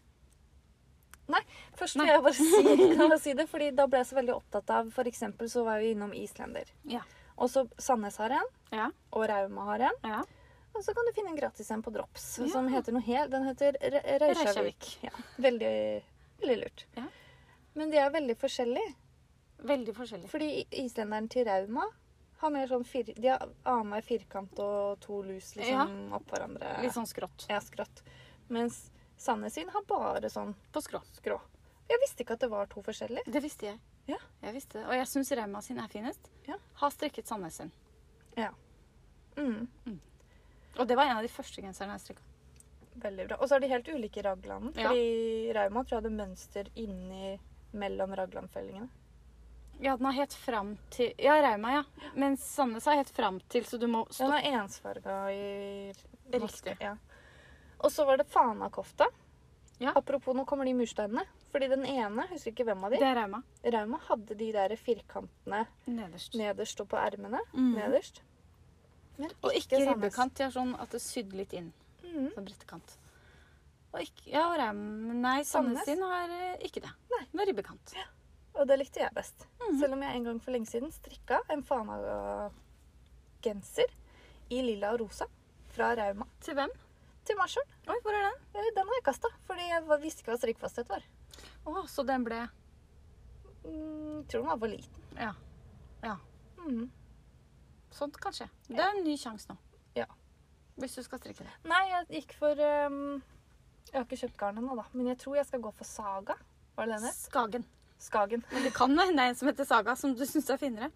S2: Først
S1: Nei.
S2: vil jeg bare si, kan jeg bare si det, fordi da ble jeg så veldig opptatt av For eksempel så var vi innom Islender.
S1: Ja.
S2: Og så Sandnes har en,
S1: Ja.
S2: og Rauma har en.
S1: Ja.
S2: Og så kan du finne en gratis en på Drops
S1: Ja.
S2: som heter noe helt Den heter Re- Reykjavik.
S1: Reykjavik.
S2: Ja. Veldig, veldig lurt.
S1: Ja.
S2: Men de er veldig forskjellige.
S1: Veldig forskjellig.
S2: Fordi islenderen til Rauma har mer sånn fir De har annenhver firkant og to lus liksom opp hverandre.
S1: Litt sånn skrått.
S2: Ja, skrått. Mens Sandnes sin har bare sånn
S1: På skrå.
S2: skrå. Jeg visste ikke at det var to forskjellige.
S1: Det visste jeg.
S2: Ja.
S1: Jeg visste det. Og jeg syns Rauma sin er finest.
S2: Ja.
S1: Har strikket Sandnes sin.
S2: Mm,
S1: Og det var en av de første genserne jeg strikka.
S2: veldig bra. Og så er de helt ulike i raglanden.
S1: Ja.
S2: Fordi Rauma tror jeg hadde mønster inni mellom raglandfellingene.
S1: Ja, den har helt fram til Ja, Rauma, ja. Men Sandnes har helt fram til, så du må
S2: Den
S1: stå
S2: er ensfarga i
S1: Riktig.
S2: maske, Ja. Og så var det fanakofta.
S1: Ja.
S2: Apropos, nå kommer de mursteinene. Fordi den ene, husker ikke hvem av de,
S1: Det er Rauma.
S2: Rauma hadde de der firkantene
S1: Nederst.
S2: nederst og på ermene.
S1: Mm.
S2: Nederst. Men
S1: Og ikke
S2: Sandnes.
S1: ribbekant. De har sånn at det er sydd litt inn.
S2: Mm.
S1: Sånn brettekant. Og ikke Ja, og Raum... Nei, Sandnes
S2: Sandnes?
S1: sin har eh, ikke det.
S2: Nei.
S1: Det er ribbekant.
S2: Og det likte jeg best.
S1: Mhm.
S2: Selv om jeg en gang for lenge siden strikka en Fana-genser i lilla og rosa fra Rauma
S1: Til hvem?
S2: til Marshall.
S1: Oi, hvor er den?
S2: Eh, Den har jeg kasta, fordi jeg var- visste ikke hva strikkfasthet var.
S1: Å, så den ble
S2: Mm, tror den var for liten.
S1: Ja.
S2: Mhm.
S1: Sånt kan skje. Det er en ny sjanse nå.
S2: Ja.
S1: Hvis du skal strikke det.
S2: Nei, jeg gikk for ehm, Jeg har ikke kjøpt garn ennå, da. Men jeg tror jeg skal gå for Saga. Var det den het?
S1: Skagen.
S2: Skagen.
S1: Men det kan jo hende det er en som heter Saga, som du syns er finere.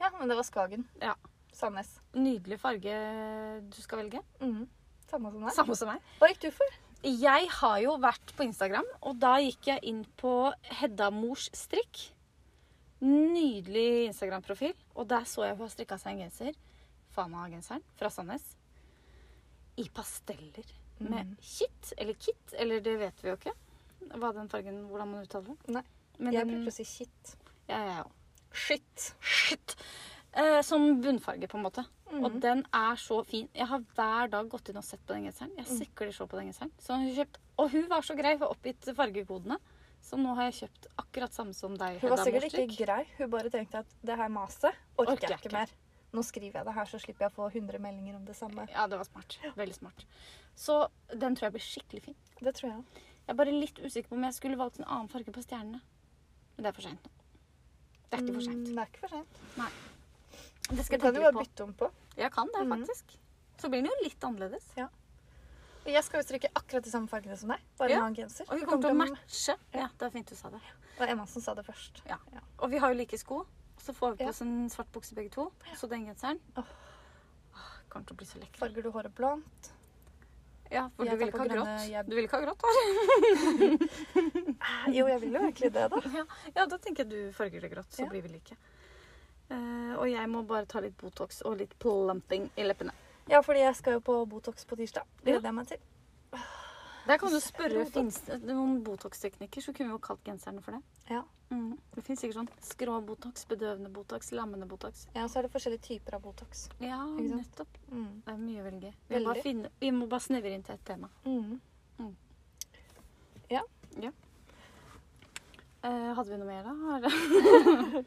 S2: Ja, men det var Skagen.
S1: Ja.
S2: Sandnes.
S1: Nydelig farge du skal velge.
S2: Mhm. Samme som deg.
S1: Samme som meg.
S2: Hva gikk du for?
S1: Jeg har jo vært på Instagram, og da gikk jeg inn på Hedda Mors strikk. Nydelig Instagram-profil. Og der så jeg hun har strikka seg en genser. Fana-genseren fra Sandnes. I pasteller. Med
S2: Mm.
S1: kitt, eller kit, eller det vet vi jo ikke. Hva den fargen, hvordan man uttaler den.
S2: Nei.
S1: Men
S2: Jeg
S1: den,
S2: prøvde å si shit.
S1: ja, ja, ja.
S2: Shit.
S1: Shit. Eh, som bunnfarge, på en måte.
S2: Mhm.
S1: Og den er så fin. Jeg har hver dag gått inn og sett på den genseren. Jeg
S2: Mhm.
S1: sikler så på den genseren. Så hun kjøpt, og hun var så grei, hun har oppgitt fargekodene. Så nå har jeg kjøpt akkurat samme som deg.
S2: Hun var
S1: Hedda
S2: sikkert
S1: Morstrik.
S2: ikke grei. Hun bare tenkte at det her maset orker,
S1: Orker jeg
S2: jeg ikke
S1: ikke.
S2: mer. Nå skriver jeg det her, så slipper jeg å få 100 meldinger om det samme.
S1: Ja, det var smart. Veldig smart. Så den tror jeg blir skikkelig fin.
S2: Det tror jeg.
S1: Jeg er bare litt usikker på om jeg skulle valgt en annen farge på stjernene. Men det er for seint nå. Det er ikke for
S2: Mm,
S1: seint.
S2: Det er ikke for sent.
S1: Det skal
S2: Du
S1: jeg
S2: Mm.
S1: tenke litt
S2: kan jo bare
S1: på.
S2: bytte om på.
S1: Jeg kan det,
S2: Mhm.
S1: faktisk. Så blir den jo litt annerledes.
S2: Og Jeg skal jo strikke akkurat de samme fargene som deg, bare
S1: Ja.
S2: en annen genser.
S1: Og vi
S2: Det
S1: kommer til å
S2: til
S1: matche. Ja, det er fint du sa det.
S2: å- Det var Emma som sa det først.
S1: Ja. Og vi har jo like sko. Så får vi på
S2: Ja.
S1: oss en svart bukse begge to. Så den genseren.
S2: Åh.
S1: Åh, Kommer til å bli så lekker.
S2: Farger du håret blondt?
S1: Ja, for
S2: Jeg
S1: du vil
S2: tar
S1: ikke ha
S2: på grønne,
S1: grått.
S2: jeg-
S1: Du vil ikke ha grått hår? Ah,
S2: Jo, jeg vil jo egentlig det, da.
S1: Ja. ja, da tenker jeg du farger det grått, så
S2: Ja.
S1: blir vi like. Eh, og jeg må bare ta litt Botox og litt plumping i leppene.
S2: Ja, fordi jeg skal jo på Botox på tirsdag. Det
S1: Ja.
S2: gleder jeg meg til.
S1: Der kan du spørre
S2: Botox.
S1: Fins det noen Botox-teknikker, så kunne vi jo kalt genserne for det.
S2: Ja.
S1: Mm. Det fins sikkert sånn skrå Botox, bedøvende Botox, lammende Botox.
S2: Ja, og så er det forskjellige typer av Botox.
S1: Ja,
S2: Ikke sant?
S1: nettopp.
S2: Mm.
S1: Det er mye å velge. Vi, må bare
S2: Veldig.
S1: finne, vi må bare snevre inn til et tema.
S2: Mm.
S1: Eh, hadde vi noe mer, da? Har-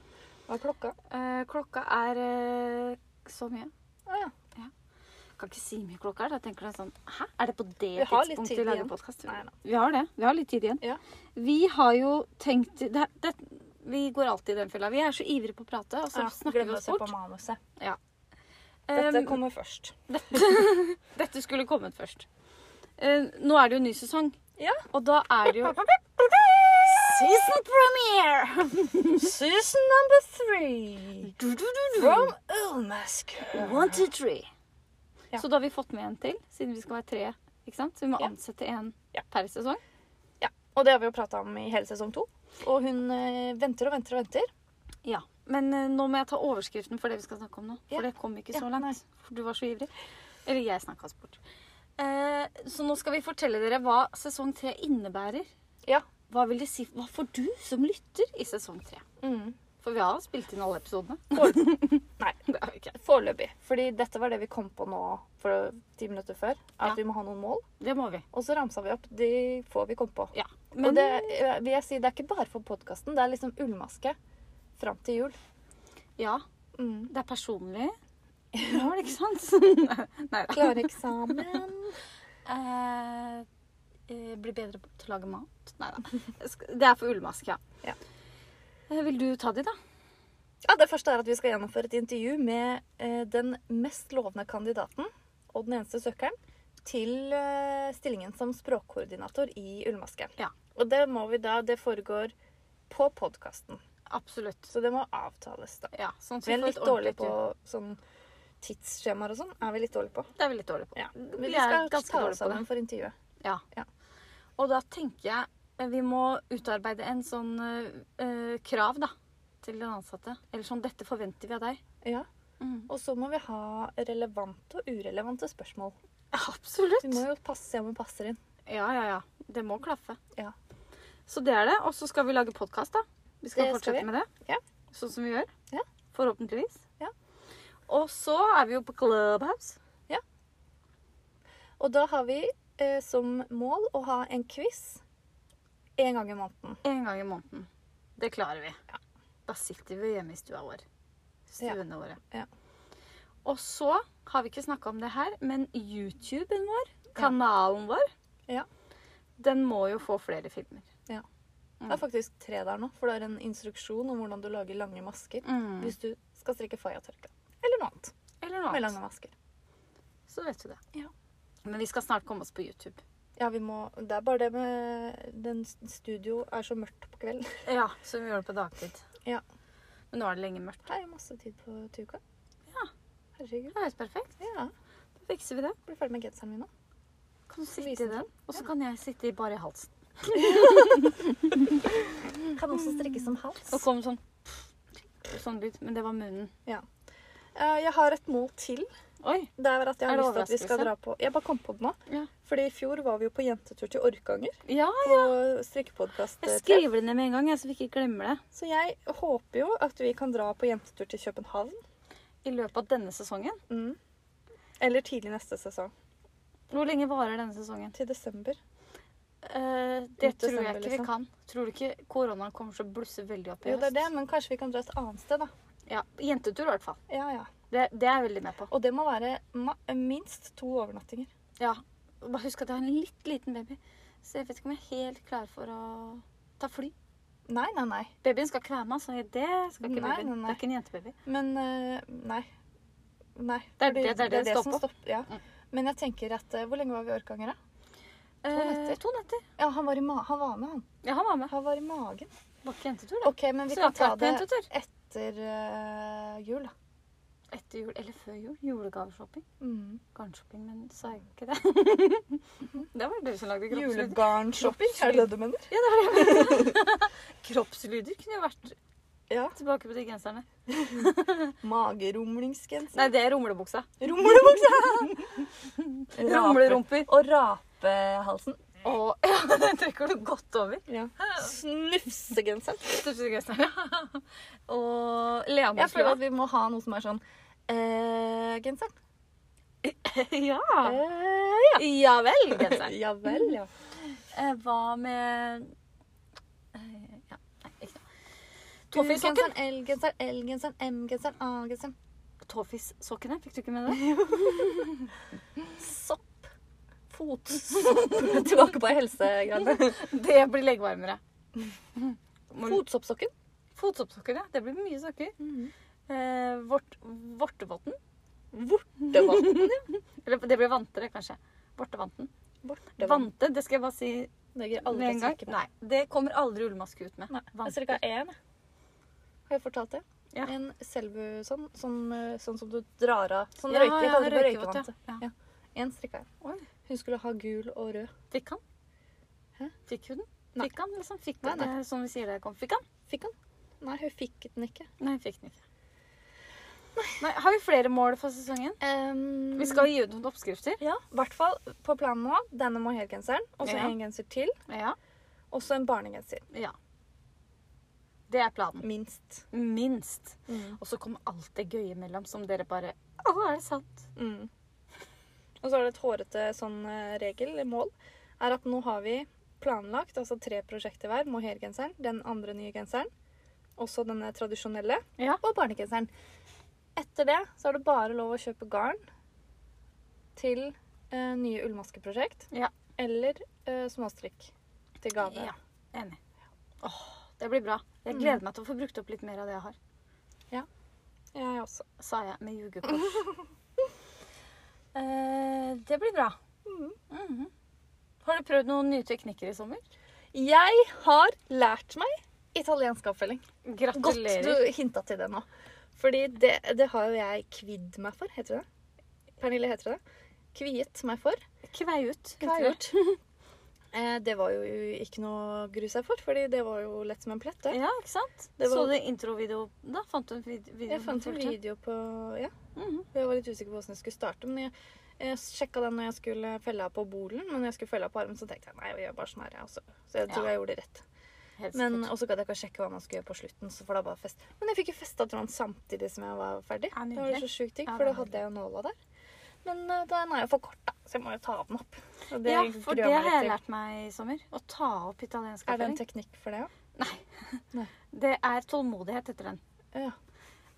S2: Hva er klokka?
S1: Eh, klokka er eh, så mye.
S2: Å ja.
S1: Kan ikke si hvor mye klokka er. Da tenker jeg sånn Hæ, er det på det
S2: Vi har litt
S1: tidspunktet
S2: tid
S1: vi lager
S2: igjen.
S1: podkast?
S2: Nei, nei.
S1: Vi har det. Vi har litt tid igjen.
S2: Ja.
S1: Vi har jo tenkt det, det, Vi går alltid i den fella. Vi er så ivrige på å prate, og så
S2: Ja,
S1: snakker vi
S2: glemmer å
S1: oss Um,
S2: se
S1: bort.
S2: på manuset.
S1: Em,
S2: Dette kommer først.
S1: dette skulle kommet først. Eh, nå er det jo ny sesong,
S2: Ja.
S1: og da er det jo Season premiere!
S2: Season number three
S1: Du, du, du, du.
S2: from Ullmask.
S1: One, two, three.
S2: Ja.
S1: Så da har vi fått med en til, siden vi skal være tre Ikke sant? Så vi må
S2: Ja.
S1: ansette en
S2: Ja.
S1: per sesong.
S2: Og det har vi jo prata om i hele sesong to. Og hun eh, venter og venter og venter.
S1: Ja. Men eh, nå må jeg ta overskriften for det vi skal snakke om nå. For
S2: Ja.
S1: det kom ikke
S2: Ja,
S1: så langt.
S2: nei.
S1: For du var så ivrig. Eller jeg snakka oss bort. Eh, så nå skal vi fortelle dere hva sesong tre innebærer.
S2: Ja.
S1: Hva vil det si? Hva får du som lytter i sesong tre?
S2: Mm.
S1: For vi har spilt inn alle episodene.
S2: Nei.
S1: Det har vi ikke.
S2: Foreløpig. Fordi dette var det vi kom på nå for ti minutter før. At
S1: Ja.
S2: vi må ha noen mål.
S1: Det må vi.
S2: Og så ramsa vi opp de få vi kom på.
S1: Ja.
S2: og det, eh, vil jeg si, det er ikke bare for podkasten. Det er liksom ullmaske fram til jul.
S1: ja,
S2: Mm.
S1: det er personlig. Ja, vel, ikke sant? Nei da.
S2: Klare eksamen.
S1: Eh, eh, bli bedre til å lage mat. Nei da. Jeg skal- Det er for ullmaske, ja.
S2: Ja.
S1: Eh, vil du ta de, da?
S2: Ja, Det første er at vi skal gjennomføre et intervju med eh, den mest lovende kandidaten og den eneste søkeren til eh, stillingen som språkkoordinator i Ullmaske.
S1: Ja.
S2: Og det må vi da, det foregår på podkasten,
S1: Absolutt.
S2: så det må avtales. da.
S1: Ja, sånn at vi
S2: Vi er
S1: får
S2: litt
S1: et
S2: dårlige
S1: ordentlig
S2: på
S1: tur.
S2: sånn tidsskjemaer og sånn. er vi litt dårlige på.
S1: Det er vi litt dårlige på.
S2: Ja. Men
S1: Vi
S2: vi
S1: er
S2: skal
S1: ganske
S2: ta
S1: dårlige
S2: oss
S1: på det.
S2: sammen for intervjuet.
S1: Ja.
S2: Ja.
S1: Og da tenker jeg eh, vi må utarbeide en sånn eh, eh, krav, da. Til den ansatte. Eller sånn 'dette forventer vi av deg'.
S2: Ja.
S1: Mm.
S2: Og så må vi ha relevante og urelevante spørsmål. Vi må
S1: Absolutt.
S2: jo passe se om vi passer inn.
S1: Ja, ja, ja. Det må klaffe.
S2: Ja.
S1: Så det er det. Og så skal vi lage podkast, da. Vi skal
S2: Det skal
S1: fortsette
S2: vi.
S1: med det.
S2: Ja.
S1: Sånn som vi gjør.
S2: Ja.
S1: Forhåpentligvis.
S2: Ja.
S1: Og så er vi jo på Clubhouse.
S2: Og da har vi eh, som mål å ha en quiz en gang i måneden.
S1: En gang i måneden. Det klarer vi. Da sitter vi hjemme i stua vår. Stuene våre.
S2: Ja.
S1: Og så har vi ikke snakka om det her, men YouTuben vår, kanalen vår,
S2: Ja.
S1: den må jo få flere filmer. Mm.
S2: Det er faktisk tre der nå, for det er en instruksjon om hvordan du lager lange masker
S1: Mm.
S2: hvis du skal strikke fayatørkle. Eller noe annet
S1: Eller noe
S2: med
S1: annet.
S2: lange masker.
S1: Så vet du det.
S2: Ja.
S1: Men vi skal snart komme oss på YouTube.
S2: Ja, vi må, Det er bare det med den s- Studio er så mørkt på kvelden.
S1: Ja, så vi gjør det på dagtid.
S2: Ja.
S1: Men nå er det lenge mørkt.
S2: Her er jo masse tid på Tuka.
S1: Ja.
S2: Herregud.
S1: Det er helt perfekt.
S2: Ja.
S1: Da fikser vi det.
S2: Blir ferdig med genseren min nå.
S1: Kan du sitte
S2: Vise
S1: i den? Og så kan jeg sitte i bare i halsen.
S2: Kan også strikkes som hals.
S1: Og kom sånn Sånn lyd. Men det var munnen.
S2: Eh, Jeg har et mål til.
S1: Oi.
S2: Det er at jeg har
S1: Er det
S2: lyst til at vi skal
S1: overraskelse?
S2: dra på Jeg bare kom på det nå.
S1: Ja.
S2: Fordi i fjor var vi jo på jentetur til Orkanger.
S1: Ja,
S2: på strikkepodkast.
S1: jeg skriver det ned med en gang, jeg, så vi ikke glemmer det.
S2: Så jeg håper jo at vi kan dra på jentetur til København. Mm.
S1: I løpet av denne sesongen.
S2: Eller tidlig neste sesong.
S1: Hvor lenge varer denne sesongen?
S2: Til desember.
S1: Eh, det
S2: Ut
S1: tror
S2: desember,
S1: jeg ikke vi
S2: liksom.
S1: kan. Tror du ikke koronaen kommer til å blusse veldig opp i
S2: Jo, det er det, men kanskje vi kan dra et annet sted, da.
S1: Ja, Jentetur, i hvert fall.
S2: Ja, ja.
S1: Det, det er jeg veldig med på.
S2: Og det må være ma minst to overnattinger.
S1: Ja. Bare husk at jeg har en litt liten baby, så jeg vet ikke om jeg er helt klar for å ta fly.
S2: Nei, nei, nei.
S1: Babyen skal kvemme, så det skal ikke
S2: Nei,
S1: babyen.
S2: nei, nei.
S1: Det er ikke en jentebaby.
S2: Men eh, Nei. Nei.
S1: Det er
S2: Fordi
S1: det- det er det det står på. Mm.
S2: stopper. Ja. Men jeg tenker at eh, Hvor lenge var vi i Orkanger, da? netter.
S1: Eh, to netter.
S2: Ja, han var, i ma han var med, han.
S1: Ja, han var med.
S2: Han var i magen.
S1: Var ikke jentetur, da.
S2: OK, men
S1: Så
S2: vi kan
S1: jeg
S2: ta
S1: har ikke vært på
S2: det
S1: jentetur.
S2: etter eh, jul, da.
S1: Etter jul, eller før jul. Julegaveshopping.
S2: Mm.
S1: Garnshopping, men sa jeg ikke det? det var det du som lagde kroppslyder.
S2: Julegarnshopping, er det det du mener?
S1: Ja, det var det. jeg mente. kroppslyder kunne jo vært
S2: Ja.
S1: tilbake på de genserne.
S2: Magerumlingsgenser.
S1: Nei, det er rumlebuksa.
S2: Rumlebukse!
S1: Rumlerumper.
S2: Og rapehalsen.
S1: Og ja, den trekker du godt over.
S2: Ja. Snufsegenseren.
S1: Største genseren. Og
S2: Jeg føler
S1: leamoslua.
S2: at vi må ha noe som er sånn eh, genseren.
S1: Ja.
S2: Eh, ja.
S1: Ja vel, genseren.
S2: ja vel, ja.
S1: Eh, Hva med eh, Ja, nei, ikke noe. Tåfissokken.
S2: U-genseren, L-genseren, L-genseren, M-genseren, A-genseren.
S1: Tåfissokkene, fikk du ikke med det?
S2: Sopp. Fotsopp. Tilbake på helsegreiene.
S1: Det blir leggvarmere. Må-
S2: Fotsoppsokken.
S1: Fotsoppsokker, ja. Det blir mye sokker.
S2: Mm.
S1: Eh, vort, vortevotten.
S2: Det var
S1: Eller det blir vantere, kanskje. Vortevanten.
S2: borte.
S1: Vante, det skal jeg bare si
S2: Det gir
S1: med
S2: alle
S1: en gang.
S2: strikker på.
S1: Nei, det kommer aldri ullmaske ut med.
S2: Nei, jeg
S1: Vante.
S2: strikka én. jeg. Har jeg fortalt det?
S1: Ja.
S2: En selbu sånn, som, eh, sånn som du drar av Sånn
S1: Ja,
S2: røyke, jeg
S1: ja,
S2: kaller det for
S1: røykevante.
S2: røykevante.
S1: Ja.
S2: Ja. En strikka jeg.
S1: Oi.
S2: Hun skulle ha gul og rød.
S1: Fikk han?
S2: Hæ?
S1: Fikk hun den?
S2: Nei.
S1: Fikk han, liksom? Fikk
S2: Nei,
S1: han? Det er sånn vi sier det. Kom. Fikk han?
S2: Fikk han? Nei, hun fikk den ikke.
S1: Nei, fikk den ikke. Nei, har vi flere mål for sesongen?
S2: Ehm,
S1: Vi skal gi ut noen oppskrifter.
S2: Ja, i hvert fall på planen nå. Denne mohairgenseren, og så
S1: Ja.
S2: en genser til,
S1: Ja.
S2: og så en barnegenser.
S1: ja. Det er planen.
S2: Minst.
S1: Minst.
S2: Mm.
S1: Og så kommer alt det gøye imellom som dere bare Å, er det sant?
S2: Mm. Og så er det et hårete sånn eh, regel, eller mål, er at nå har vi planlagt altså tre prosjekter hver. Mohairgenseren, den andre nye genseren, også denne tradisjonelle,
S1: Ja.
S2: og barnegenseren. Etter det så er det bare lov å kjøpe garn til eh, nye ullmaskeprosjekt.
S1: Ja.
S2: Eller eh, småstrikk til gave.
S1: Ja, enig. Åh, det blir bra. Jeg gleder meg til å få brukt opp litt mer av det jeg har.
S2: Jeg også.
S1: Sa jeg med jugekors. eh, det blir bra.
S2: Mhm.
S1: Mhm. Har du prøvd noen nye teknikker i sommer?
S2: Jeg har lært meg italiensk avfelling. Godt
S1: Gratulerer.
S2: du hinta til det nå. Fordi det, det har jo jeg kvidd meg for, heter det det? Pernille, heter det det? Kviet meg for.
S1: Kvei ut.
S2: Kvei
S1: heter
S2: ut. Eh, det var jo ikke noe å grue seg for, fordi det var jo lett som en plett.
S1: det.
S2: Det.
S1: Ja, ikke sant?
S2: Det var-
S1: Så du introvideo da? Fant du en vid video?
S2: Jeg fant en video på Ja,
S1: Mhm.
S2: jeg var litt usikker på hvordan jeg skulle starte. Men jeg, jeg sjekka den når jeg skulle felle av på bolen, men når jeg skulle felle av på armen, så tenkte jeg nei, jeg gjør bare sånn her, jeg også. Så jeg tror
S1: Ja.
S2: jeg gjorde det rett.
S1: Helt
S2: Men,
S1: sikkert.
S2: og så gadd jeg ikke å sjekke hva man skulle gjøre på slutten. Så for da bare fest. Men jeg fikk jo festa tråden samtidig som jeg var ferdig.
S1: Ja,
S2: det var jo
S1: nydelig.
S2: så sjukt digg,
S1: Ja,
S2: for
S1: det
S2: da
S1: var
S2: hadde jeg jo nåla der. Men eh, den er jo for kort, da, så jeg må jo ta den opp. Og det
S1: ja,
S2: gruer
S1: for det
S2: jeg meg
S1: har
S2: litt
S1: jeg
S2: til.
S1: lært meg i sommer. Å ta opp italiensk
S2: Er det en
S1: erfaring.
S2: teknikk for det, ja?
S1: Det er tålmodighet etter den.
S2: Ja.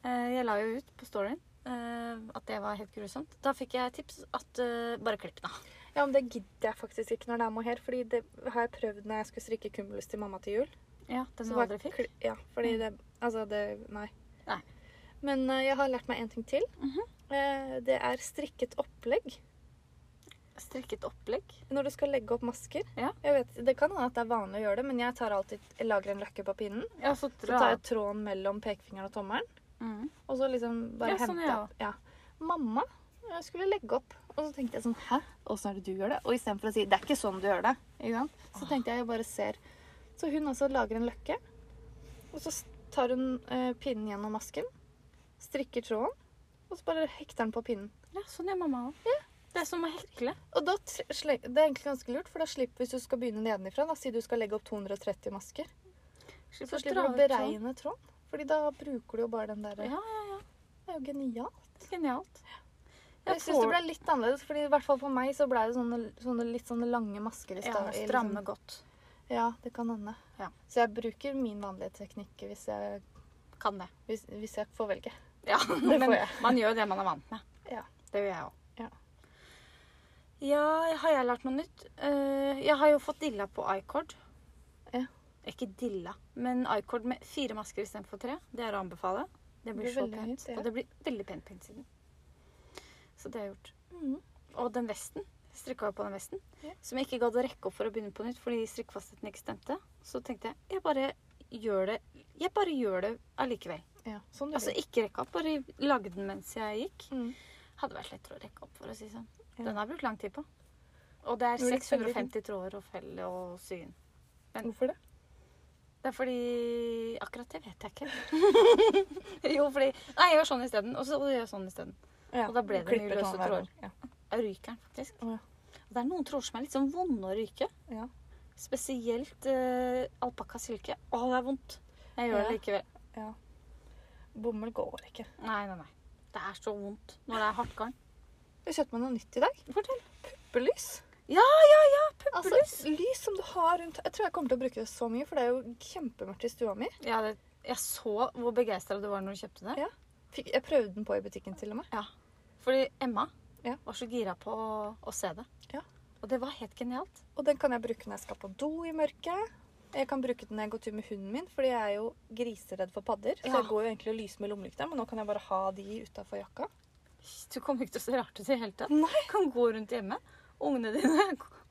S1: Eh, Jeg la jo ut på storyen eh, at det var helt grusomt. Da fikk jeg tips at eh, bare klipp den av.
S2: ja, men det gidder jeg faktisk ikke når det er mohair. Fordi det har jeg prøvd når jeg skulle strikke cumulus til mamma til jul.
S1: Ja, den
S2: Så
S1: du
S2: bare
S1: aldri fikk. Mm.
S2: kli- Ja, fordi det Altså, det Nei.
S1: Nei.
S2: Men eh, jeg har lært meg en ting til.
S1: Mhm.
S2: Eh, det er strikket opplegg.
S1: Strikket opplegg.
S2: Når du skal legge opp masker
S1: Ja.
S2: jeg vet, Det kan hende at det er vanlig å gjøre det, men jeg tar alltid, jeg lager en løkke på pinnen.
S1: Ja, så
S2: Så tar jeg tråden mellom pekefingeren og tommelen,
S1: Mm.
S2: og så liksom bare
S1: Ja, sånn
S2: henter
S1: gjør jeg
S2: opp. Ja. Mamma jeg skulle legge opp, og så tenkte jeg sånn Hæ, åssen er det du gjør det? Og istedenfor å si det er ikke sånn du gjør det, ikke sant? så tenkte jeg jeg bare ser. Så hun altså lager en løkke, og så tar hun eh, pinnen gjennom masken, strikker tråden, og så bare hekter den på pinnen.
S1: Ja, sånn gjør mamma òg. Det er som å hekle.
S2: Og da, tr- sle- det er egentlig ganske lurt, for da slipper hvis du skal begynne nedenifra, da, si du skal legge opp 230 masker, så
S1: å
S2: slipper du
S1: dra ut sånn.
S2: å beregne tråden. Fordi da bruker du jo bare den der
S1: Ja, ja, ja.
S2: Det er jo genialt.
S1: Genialt.
S2: Jeg syns det ble litt annerledes, fordi i hvert fall for meg så ble det sånne, sånne litt sånne lange masker i
S1: ja,
S2: stad. i liksom-
S1: stramme godt.
S2: Ja, det kan hende.
S1: Ja.
S2: Så jeg bruker min vanlige teknikk hvis jeg,
S1: Kan det.
S2: hvis, hvis jeg får velge.
S1: Ja,
S2: får
S1: men
S2: jeg.
S1: man gjør jo det man er vant med.
S2: Ja.
S1: Det gjør jeg òg.
S2: Ja.
S1: ja, har jeg lært noe nytt? Eh, Jeg har jo fått dilla på iCord.
S2: Ja.
S1: Ikke dilla, men iCord med fire masker istedenfor tre. Det er å anbefale. Det blir,
S2: Det blir
S1: så
S2: veldig
S1: pent.
S2: fint, ja.
S1: Og det blir veldig pent på innsiden. Så det har jeg gjort. Og den vesten. Strikka jo på den vesten.
S2: Ja.
S1: Som jeg ikke gadd å rekke opp for å begynne på nytt fordi strikkfastheten ikke stemte. Så tenkte jeg jeg bare gjør det Jeg bare gjør det allikevel.
S2: Ja, sånn du
S1: Altså
S2: vil.
S1: ikke rekke opp, bare lagde den mens jeg gikk.
S2: Mm.
S1: Hadde vært lettere å rekke opp, for å si sånn.
S2: Ja.
S1: Den har jeg brukt lang tid på. Og det er
S2: Det blir litt veldig
S1: 650 tråder å felle og sy inn.
S2: Hvorfor det?
S1: Det er fordi Akkurat det vet jeg ikke. jo, fordi Nei, jeg gjør sånn isteden. Og så gjør jeg sånn isteden.
S2: Ja,
S1: Og da ble det mye
S2: klipper
S1: løse
S2: tåen hver
S1: tråder.
S2: gang. Ja.
S1: Jeg ryker den faktisk.
S2: Å, ja.
S1: Og det er noen tråder som er litt sånn vonde å ryke.
S2: Ja.
S1: Spesielt eh, alpakka silke. Å, det er vondt. Jeg gjør
S2: Ja.
S1: det likevel.
S2: Bomull går ikke.
S1: Nei, nei, nei. Det er så vondt når det er hardt garn.
S2: Jeg kjøpte meg noe nytt i dag.
S1: Fortell.
S2: Puppelys.
S1: Ja,
S2: ja, ja!
S1: puppelys.
S2: Altså, lys som du har rundt Jeg tror jeg kommer til å bruke det så mye, for det er jo kjempemørkt i stua mi.
S1: Ja, det, jeg så hvor begeistra du var når du kjøpte det.
S2: Ja. Fikk, jeg prøvde den på i butikken til og med.
S1: Fordi Emma
S2: Ja.
S1: var så gira på å, å se det.
S2: Ja.
S1: Og det var helt genialt.
S2: Og den kan jeg bruke når jeg skal på do i mørket. Jeg kan bruke den når jeg går tur med hunden min, fordi jeg er jo griseredd for padder. Så
S1: Ja.
S2: jeg går jo egentlig og lyser med lommelykta, men nå kan jeg bare ha de utafor jakka.
S1: Du kommer ikke til å se rart ut i det hele tatt.
S2: Nei.
S1: Du kan gå rundt hjemme. Ungene dine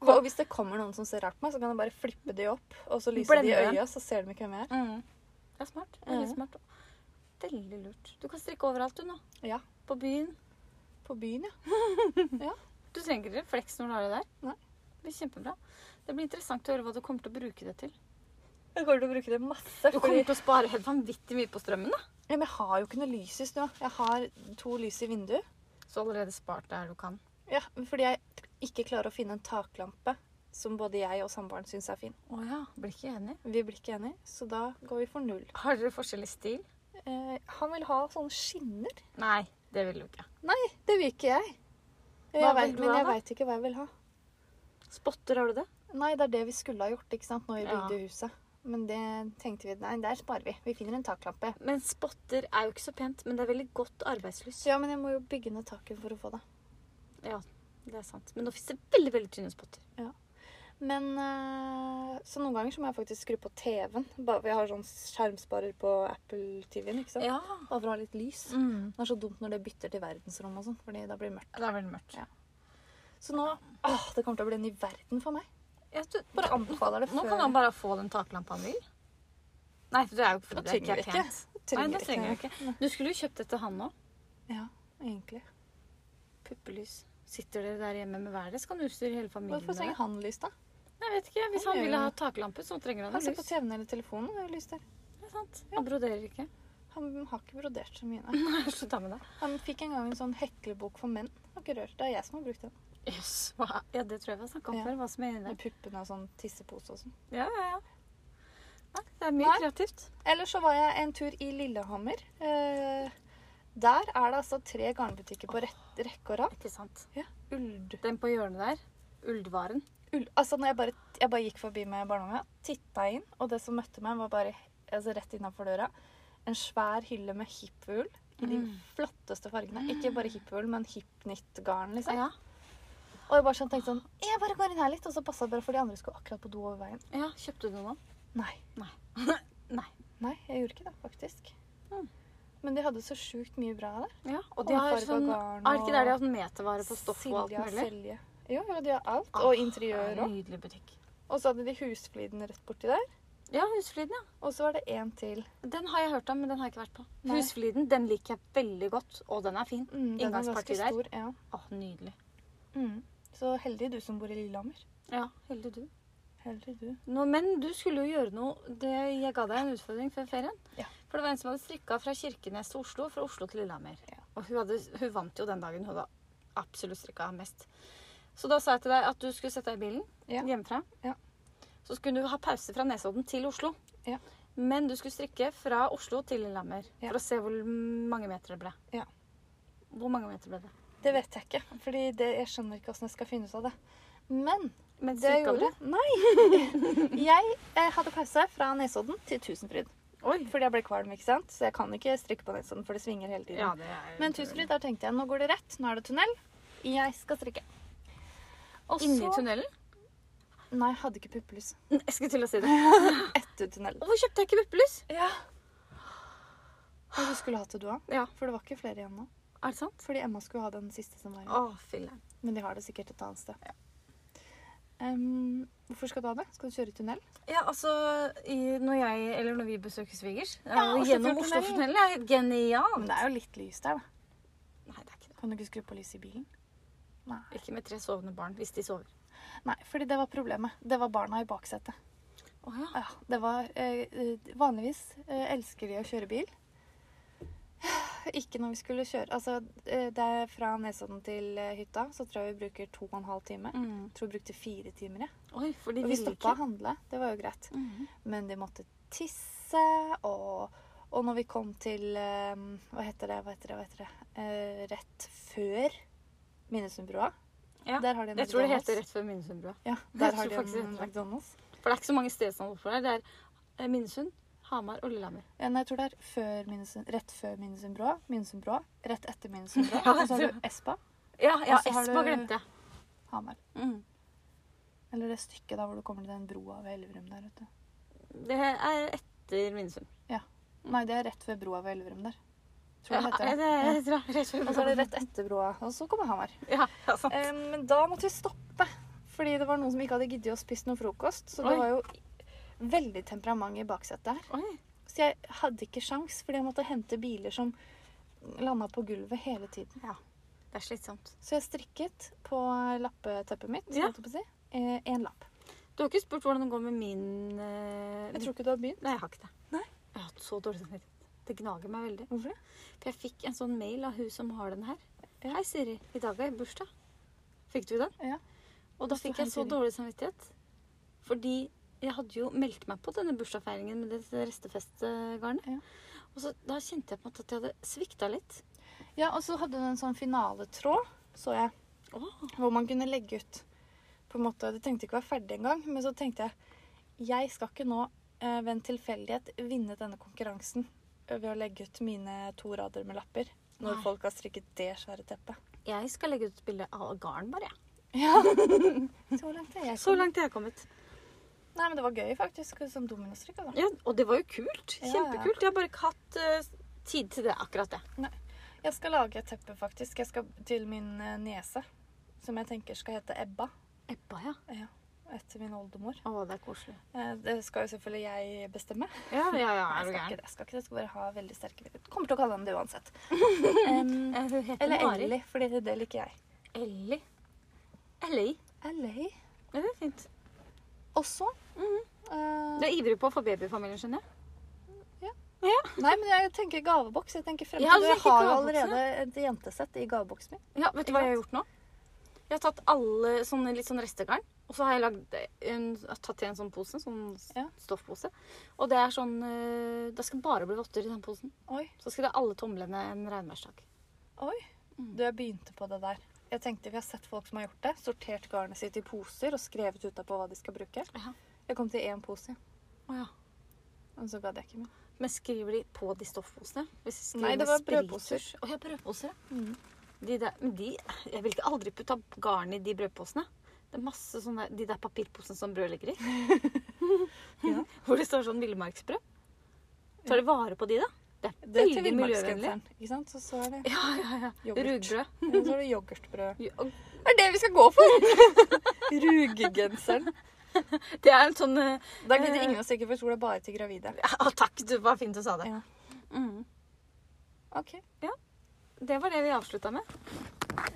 S2: Og hvis det kommer noen som ser rart på meg, så kan jeg bare flippe de opp, og så lyser de i
S1: Blende dem.
S2: øya, så ser de ikke hvem jeg er.
S1: mm. Det er smart. Veldig
S2: Ja.
S1: smart. Veldig lurt. Du kan strikke overalt, du nå.
S2: Ja.
S1: På byen.
S2: På byen, ja.
S1: Du trenger ikke refleks når du har det der.
S2: Nei.
S1: Det blir kjempebra. Det blir interessant å høre hva du kommer til å bruke det til.
S2: Jeg kommer til å bruke det masse.
S1: Du
S2: Fordi,
S1: kommer til å spare helt vanvittig mye på strømmen, da.
S2: ja, men jeg har jo ikke noe lys i stua. Jeg har to lys i vinduet.
S1: Så allerede spart der du kan.
S2: Ja, fordi jeg ikke klarer å finne en taklampe som både jeg og samboeren syns er fin.
S1: Å ja. Blir ikke enig.
S2: Vi blir ikke enige, så da går vi for null.
S1: Har dere forskjellig stil?
S2: Eh, han vil ha sånne skinner.
S1: Nei, det vil du ikke.
S2: Det vil ikke jeg. jeg
S1: Hva vil
S2: vet,
S1: du
S2: men
S1: ha,
S2: jeg
S1: da?
S2: veit ikke hva jeg vil ha.
S1: Spotter, har du det?
S2: Nei, det er det vi skulle ha gjort ikke sant, når vi
S1: Ja.
S2: bygde huset. Men det tenkte vi Nei, der sparer vi. Vi finner en taklampe.
S1: Men spotter er jo ikke så pent, men det er veldig godt arbeidslys.
S2: Så ja, men jeg må jo bygge ned taket for å få det.
S1: Det er sant. Men nå fins det veldig veldig tynne spotter.
S2: Men eh, Så noen ganger så må jeg faktisk skru på TV-en. Bare for jeg har sånn skjermsparer på Apple TV-en. ikke sant?
S1: Ja.
S2: Bare for å ha litt lys.
S1: Mm.
S2: Det er så dumt når det bytter til verdensrom og sånn, fordi da blir det mørkt.
S1: Det er veldig mørkt.
S2: Ja. Så nå åh, Det kommer til å bli en ny verden for meg.
S1: Ja, du,
S2: Bare anbefaler det
S1: nå
S2: før
S1: kan han bare få den taklampa han vil. Nei, for det er jo for
S2: Da
S1: det er
S2: trenger
S1: ikke
S2: vi ikke.
S1: pent. Nei, det trenger jeg ikke. Du skulle jo kjøpt dette han òg.
S2: Ja, egentlig.
S1: Puppelys. Sitter dere der hjemme med været, så kan du utstyre hele familien
S2: Hvorfor
S1: med
S2: trenger
S1: det.
S2: han lys, da?
S1: Jeg vet ikke. Hvis
S2: Han
S1: han
S2: gjør
S1: ville
S2: jo
S1: ha
S2: det.
S1: taklampe, så trenger han
S2: Han
S1: jo
S2: ser på
S1: lys.
S2: TV-en eller telefonen og har lys der.
S1: Det er sant. Han broderer ikke.
S2: Han har ikke brodert så mye. Nei.
S1: Slutt da med det.
S2: Han fikk en gang en sånn heklebok for menn. Det Har ikke rørt. Det er jeg som har brukt den.
S1: Jøss. hva- Ja, det tror jeg vi har snakka om
S2: Ja.
S1: før. Hva som er inni der.
S2: Med puppene og sånn tissepose og sånn.
S1: Ja, ja, ja. Nei, det er mye
S2: Nei.
S1: kreativt.
S2: Eller så var jeg en tur i Lillehammer. Eh, der er det altså tre garnbutikker på rett, rekke og rad.
S1: Ikke sant.
S2: Ull,
S1: Den på hjørnet der, Uldvaren.
S2: ull. Altså, når jeg bare, jeg bare gikk forbi med barnevogna, titta inn, og det som møtte meg, var bare altså, rett innafor døra. En svær hylle med hippull i de
S1: Mm.
S2: flotteste fargene. Ikke bare hippull, men hipknitt-garn, liksom.
S1: Ja,
S2: Og jeg bare sånn tenkte sånn Jeg bare går inn her litt, og så passa det bare, for de andre skulle akkurat på do over veien.
S1: ja. Kjøpte du noe?
S2: Nei.
S1: Nei.
S2: Nei, jeg gjorde ikke det, faktisk.
S1: Mm.
S2: Men de hadde så sjukt mye bra der.
S1: Ja, og de har
S2: Hårfarga
S1: sånn
S2: garn
S1: Er det ikke der de har
S2: og
S1: sånn metervare på stoff og alt
S2: Silja
S1: mulig?
S2: Selje. Jo, jo, de har alt.
S1: Ah,
S2: Og
S1: Det er
S2: interiør
S1: en
S2: òg.
S1: Nydelig butikk.
S2: Og så hadde de Husfliden rett borti der.
S1: Ja, Husfliden, ja.
S2: Og så var det én til.
S1: Den har jeg hørt om, men den har jeg ikke vært på.
S2: Nei.
S1: Husfliden, den liker jeg veldig godt, og den er fin.
S2: Mm, den er ganske
S1: Inngangsparti der.
S2: Stor, ja.
S1: Åh, nydelig.
S2: mm. Så heldig du som bor i Lillehammer.
S1: Ja, heldig du.
S2: Heldig du.
S1: Nå, men du skulle jo gjøre noe det, Jeg ga deg en utfordring før ferien.
S2: Ja.
S1: For det var en som hadde strikka fra Kirkenes til Oslo, fra Oslo til Lillehammer.
S2: Ja.
S1: Og hun, hadde, hun vant jo den dagen. Hun hadde absolutt strikka mest. Så da sa jeg til deg at du skulle sette deg i bilen
S2: Ja.
S1: hjemmefra.
S2: Ja.
S1: Så skulle du ha pause fra Nesodden til Oslo.
S2: Ja.
S1: Men du skulle strikke fra Oslo til Lillehammer
S2: Ja.
S1: for å se hvor mange meter det ble.
S2: Ja.
S1: Hvor mange meter ble det?
S2: Det vet jeg ikke, Fordi det, jeg skjønner ikke åssen jeg skal finne ut av det. Men
S1: Men
S2: det jeg
S1: strikka
S2: gjorde Nei! jeg eh, hadde pause fra Nesodden til Tusenfryd.
S1: Oi.
S2: Fordi jeg ble kvalm, ikke sant? så jeg kan ikke strikke på Nesodden, for det svinger hele tiden.
S1: Ja, det er
S2: Men Tusenfryd, der tenkte jeg nå går det rett. Nå er det tunnel. Jeg skal strikke. Og
S1: Inni
S2: så-
S1: tunnelen?
S2: Nei, jeg hadde ikke puppelys.
S1: Jeg skulle til å si det.
S2: Etter tunnelen.
S1: Hvorfor kjøpte jeg ikke puppelys?
S2: Ja. Men du skulle hatt det, du òg.
S1: Ja.
S2: For det var ikke flere igjen nå.
S1: Er det sant?
S2: Fordi Emma skulle ha den siste som var igjen.
S1: Å, filler'n.
S2: Men de har det sikkert et annet sted. Em, hvorfor skal du ha det? Skal du kjøre i tunnel?
S1: Ja, altså, i, når jeg, eller når vi besøker svigers
S2: Ja,
S1: eh,
S2: og
S1: Gjennom
S2: Oslofjordtunnelen.
S1: Oslofjordtunnelen er
S2: Men
S1: genialt.
S2: det er jo litt lys der, da.
S1: Nei, det er ikke det.
S2: Kan du ikke skru på lyset i bilen?
S1: Ikke med tre sovende barn, hvis de sover.
S2: Nei, fordi det var problemet. Det var barna i baksetet.
S1: Å ja.
S2: Ja, det var eh, eh, Vanligvis eh, elsker de å kjøre bil. Ikke når vi skulle kjøre Altså, eh, det er fra Nesodden til eh, hytta, så tror jeg vi bruker to og en halv time.
S1: Mm.
S2: Jeg tror vi brukte fire timer, jeg.
S1: Oi, for de
S2: Og vi
S1: ville
S2: stoppa
S1: ikke.
S2: og handla. Det var jo greit.
S1: Mhm.
S2: Men de måtte tisse, og, og når vi kom til eh, Hva heter det? Hva heter det? Hva heter det? Eh, rett før Minnesundbrua.
S1: Ja,
S2: Der har de en
S1: Jeg tror det
S2: McDonald's.
S1: heter rett før Minnesundbrua.
S2: Ja,
S1: Jeg
S2: der
S1: tror
S2: har de
S1: faktisk det
S2: en
S1: heter det.
S2: McDonald's.
S1: For det er ikke så mange stednavn oppfor der. Det er eh, Minnesund, Hamar og Lillehammer.
S2: Ja, nei, jeg tror det er før Minnesund, rett før Minnesundbrua, Minnesundbrua, rett etter Minnesundbrua.
S1: Ja,
S2: og så har du Espa,
S1: Ja, ja
S2: Og så har
S1: Espa
S2: du-
S1: glemte jeg.
S2: Hamar.
S1: Mm.
S2: Eller det stykket da hvor du kommer til den broa ved Elverum der, vet du.
S1: Det er etter Minnesund.
S2: Nei, det er rett ved broa ved Elverum der. Tror
S1: Mm. Ja,
S2: jeg det heter.
S1: det
S2: det.
S1: jeg tror jeg. Rett før
S2: Ja. Og så er det rett etter broa, og så kommer Hamar.
S1: Ja, ja, sant.
S2: Eh, Men da måtte vi stoppe, fordi det var noen som ikke hadde giddet å spise noe frokost. Så det
S1: Oi.
S2: var jo veldig temperament i baksetet her.
S1: Oi.
S2: Så jeg hadde ikke sjans, fordi jeg måtte hente biler som landa på gulvet hele tiden.
S1: Det er slitsomt.
S2: Så jeg strikket på lappeteppet mitt.
S1: Ja.
S2: holdt jeg på å si. Eh, en lapp.
S1: Du har ikke spurt hvordan det går med min eh,
S2: Jeg tror ikke du har begynt.
S1: Nei, jeg har ikke det.
S2: Nei.
S1: Jeg har hatt så dårlig samvittighet. Det gnager meg veldig.
S2: Hvorfor det?
S1: For jeg fikk en sånn mail av hun som har den her.
S2: Ja.
S1: Hei, Siri. I dag er jeg bursdag. Fikk du den?
S2: Ja.
S1: Og da
S2: Det sto
S1: fikk jeg
S2: «Hei,
S1: så
S2: Siri».
S1: dårlig samvittighet. Fordi jeg hadde jo meldt meg på denne bursdagsfeiringen med dette restefestgarnet.
S2: Ja.
S1: Og så da kjente jeg på en måte at jeg hadde svikta litt.
S2: Ja, og så hadde du en sånn finaletråd, så jeg.
S1: Åh.
S2: Hvor man kunne legge ut på en måte, Det trengte ikke å være ferdig engang, men så tenkte jeg jeg skal ikke nå eh, ved en tilfeldighet vinne denne konkurransen ved å legge ut mine to rader med lapper. Når
S1: Nei.
S2: folk har strikket det svære teppet.
S1: Jeg skal legge ut et bilde av garn, bare. jeg.
S2: Ja. så langt er jeg. sånn.
S1: Så langt jeg er kommet.
S2: Nei, men det var gøy faktisk, som dominostrikk. Altså.
S1: Ja, og det var jo kult.
S2: Ja, ja.
S1: Kjempekult. Jeg har bare ikke hatt eh, tid til det, akkurat det.
S2: Jeg skal lage et teppe, faktisk. Jeg skal til min eh, niese, som jeg tenker skal hete Ebba.
S1: Ebba, ja.
S2: Ja, etter min oldemor.
S1: Å, det er koselig.
S2: Eh, Det skal jo selvfølgelig jeg bestemme.
S1: Ja, ja, ja. Er
S2: Nei, jeg
S1: du
S2: skal ikke
S1: gæren?
S2: det. Jeg skal ikke det. Jeg skal bare ha veldig sterke Kommer til å kalle henne det uansett. Em,
S1: Eh, Hun heter
S2: eller
S1: Mari.
S2: Ellie, fordi det liker jeg.
S1: Ellie. Ellie.
S2: Ellie?
S1: Ja, det er fint.
S2: Også. Eh,
S1: Du er ivrig på å få babyfamilien, skjønner jeg.
S2: nei, men jeg tenker gaveboks. Jeg tenker fremtid.
S1: Ja, du
S2: og jeg
S1: tenker
S2: har jo
S1: gaveboks,
S2: allerede et jentesett i gaveboksen min.
S1: Ja, Vet du hva jeg har gjort nå? Jeg har tatt alle sånne litt sånn restegarn. Og så har jeg lagd en, tatt til en sånn pose, en sånn s-
S2: Ja.
S1: stoffpose. Og det er sånn eh, Det skal bare bli votter i den posen.
S2: Oi,
S1: Så skal det alle tomlene en regnværsdag.
S2: oi.
S1: Mm.
S2: Du, jeg begynte på det der. Jeg tenkte Vi har sett folk som har gjort det. Sortert garnet sitt i poser og skrevet utapå hva de skal bruke.
S1: Ja.
S2: Jeg kom til én pose,
S1: Å ja.
S2: men så gadd jeg ikke mer.
S1: Men skriver de på de stoffposene? Hvis de skriver
S2: Nei, det
S1: med
S2: var brødposer.
S1: spiritus- Å ja, brødposer. ja.
S2: Mm.
S1: De der, men de, jeg vil ikke aldri putte garn i de brødposene. Det er masse sånne, De der papirposene som brød ligger i.
S2: Ja.
S1: Hvor det står sånn villmarksbrød. Tar de vare på de, da? Det er,
S2: Det er til
S1: veldig miljøvennlig.
S2: villmarksgenseren. ikke sant? Så, så er det
S1: Ja, ja, ja.
S2: yoghurt.
S1: Rugbrød.
S2: Ja, Så er det yoghurtbrød.
S1: Jo- og
S2: Det er det vi skal gå for! Rugegenseren.
S1: Det er en sånn eh,
S2: Det er ikke til ingen å stikke for skole, bare til gravide.
S1: ja, Takk, det var fint du sa det.
S2: Ja.
S1: Mm.
S2: Ok.
S1: Det var det vi avslutta med.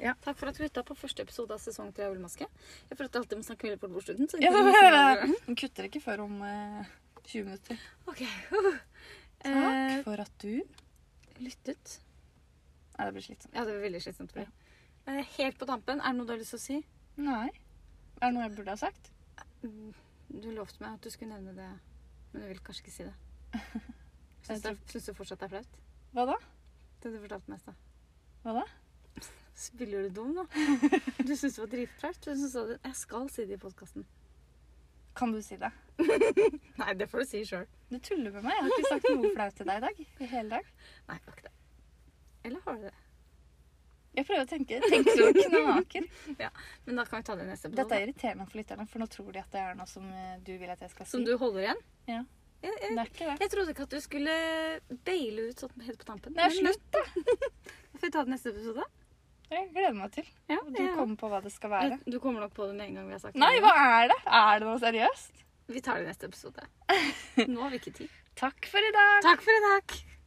S2: Ja.
S1: Takk for at du lytta på første episode av sesong tre av Ullmaske. Jeg føler at jeg alltid må snakke veldig fort bort slutten. så-
S2: Den kutter ikke før om eh, 20 minutter.
S1: Ok. Eh,
S2: Takk for at du
S1: lyttet.
S2: Nei, det blir slitsomt.
S1: Ja, det var veldig slitsomt for deg. Eh, Helt på tampen, er det noe du har lyst til å si?
S2: Nei. Er det noe jeg burde ha sagt?
S1: Mm, Du lovte meg at du skulle nevne det, men du vil kanskje ikke si det. Syns du,
S2: Jeg
S1: syns du fortsatt det er flaut?
S2: Hva da?
S1: Det du fortalte meg i stad.
S2: Hva da?
S1: Spiller du dum, da? Du syns det var dritflaut. Du syns at jeg skal si det i podkasten.
S2: Kan du si det?
S1: Nei, det får du si sjøl.
S2: Du tuller med meg. Jeg har ikke sagt noe flaut til deg i dag. I hele dag.
S1: Nei, det var ikke det. Eller har du det?
S2: Jeg prøver å tenke. Tenk så det knaker.
S1: Men da kan vi ta det i neste
S2: Dette
S1: episode.
S2: er irriterende for lytterne, for nå tror de at det er noe som eh, du vil at jeg skal si.
S1: Som du holder igjen?
S2: Ja.
S1: Jeg,
S2: Det
S1: jeg,
S2: er ikke det.
S1: jeg trodde ikke at du skulle baile ut sånn helt på tampen.
S2: Nei,
S1: Men-
S2: slutt, da!
S1: Får vi ta det i neste episode?
S2: Jeg gleder meg til.
S1: Ja,
S2: Du kommer på hva det skal være.
S1: Du kommer nok på det med en gang vi har sagt
S2: Nei,
S1: det.
S2: hva er det? Er det noe seriøst?
S1: Vi tar det i neste episode. Nå har vi ikke tid.
S2: Takk for i dag.
S1: Takk for i dag.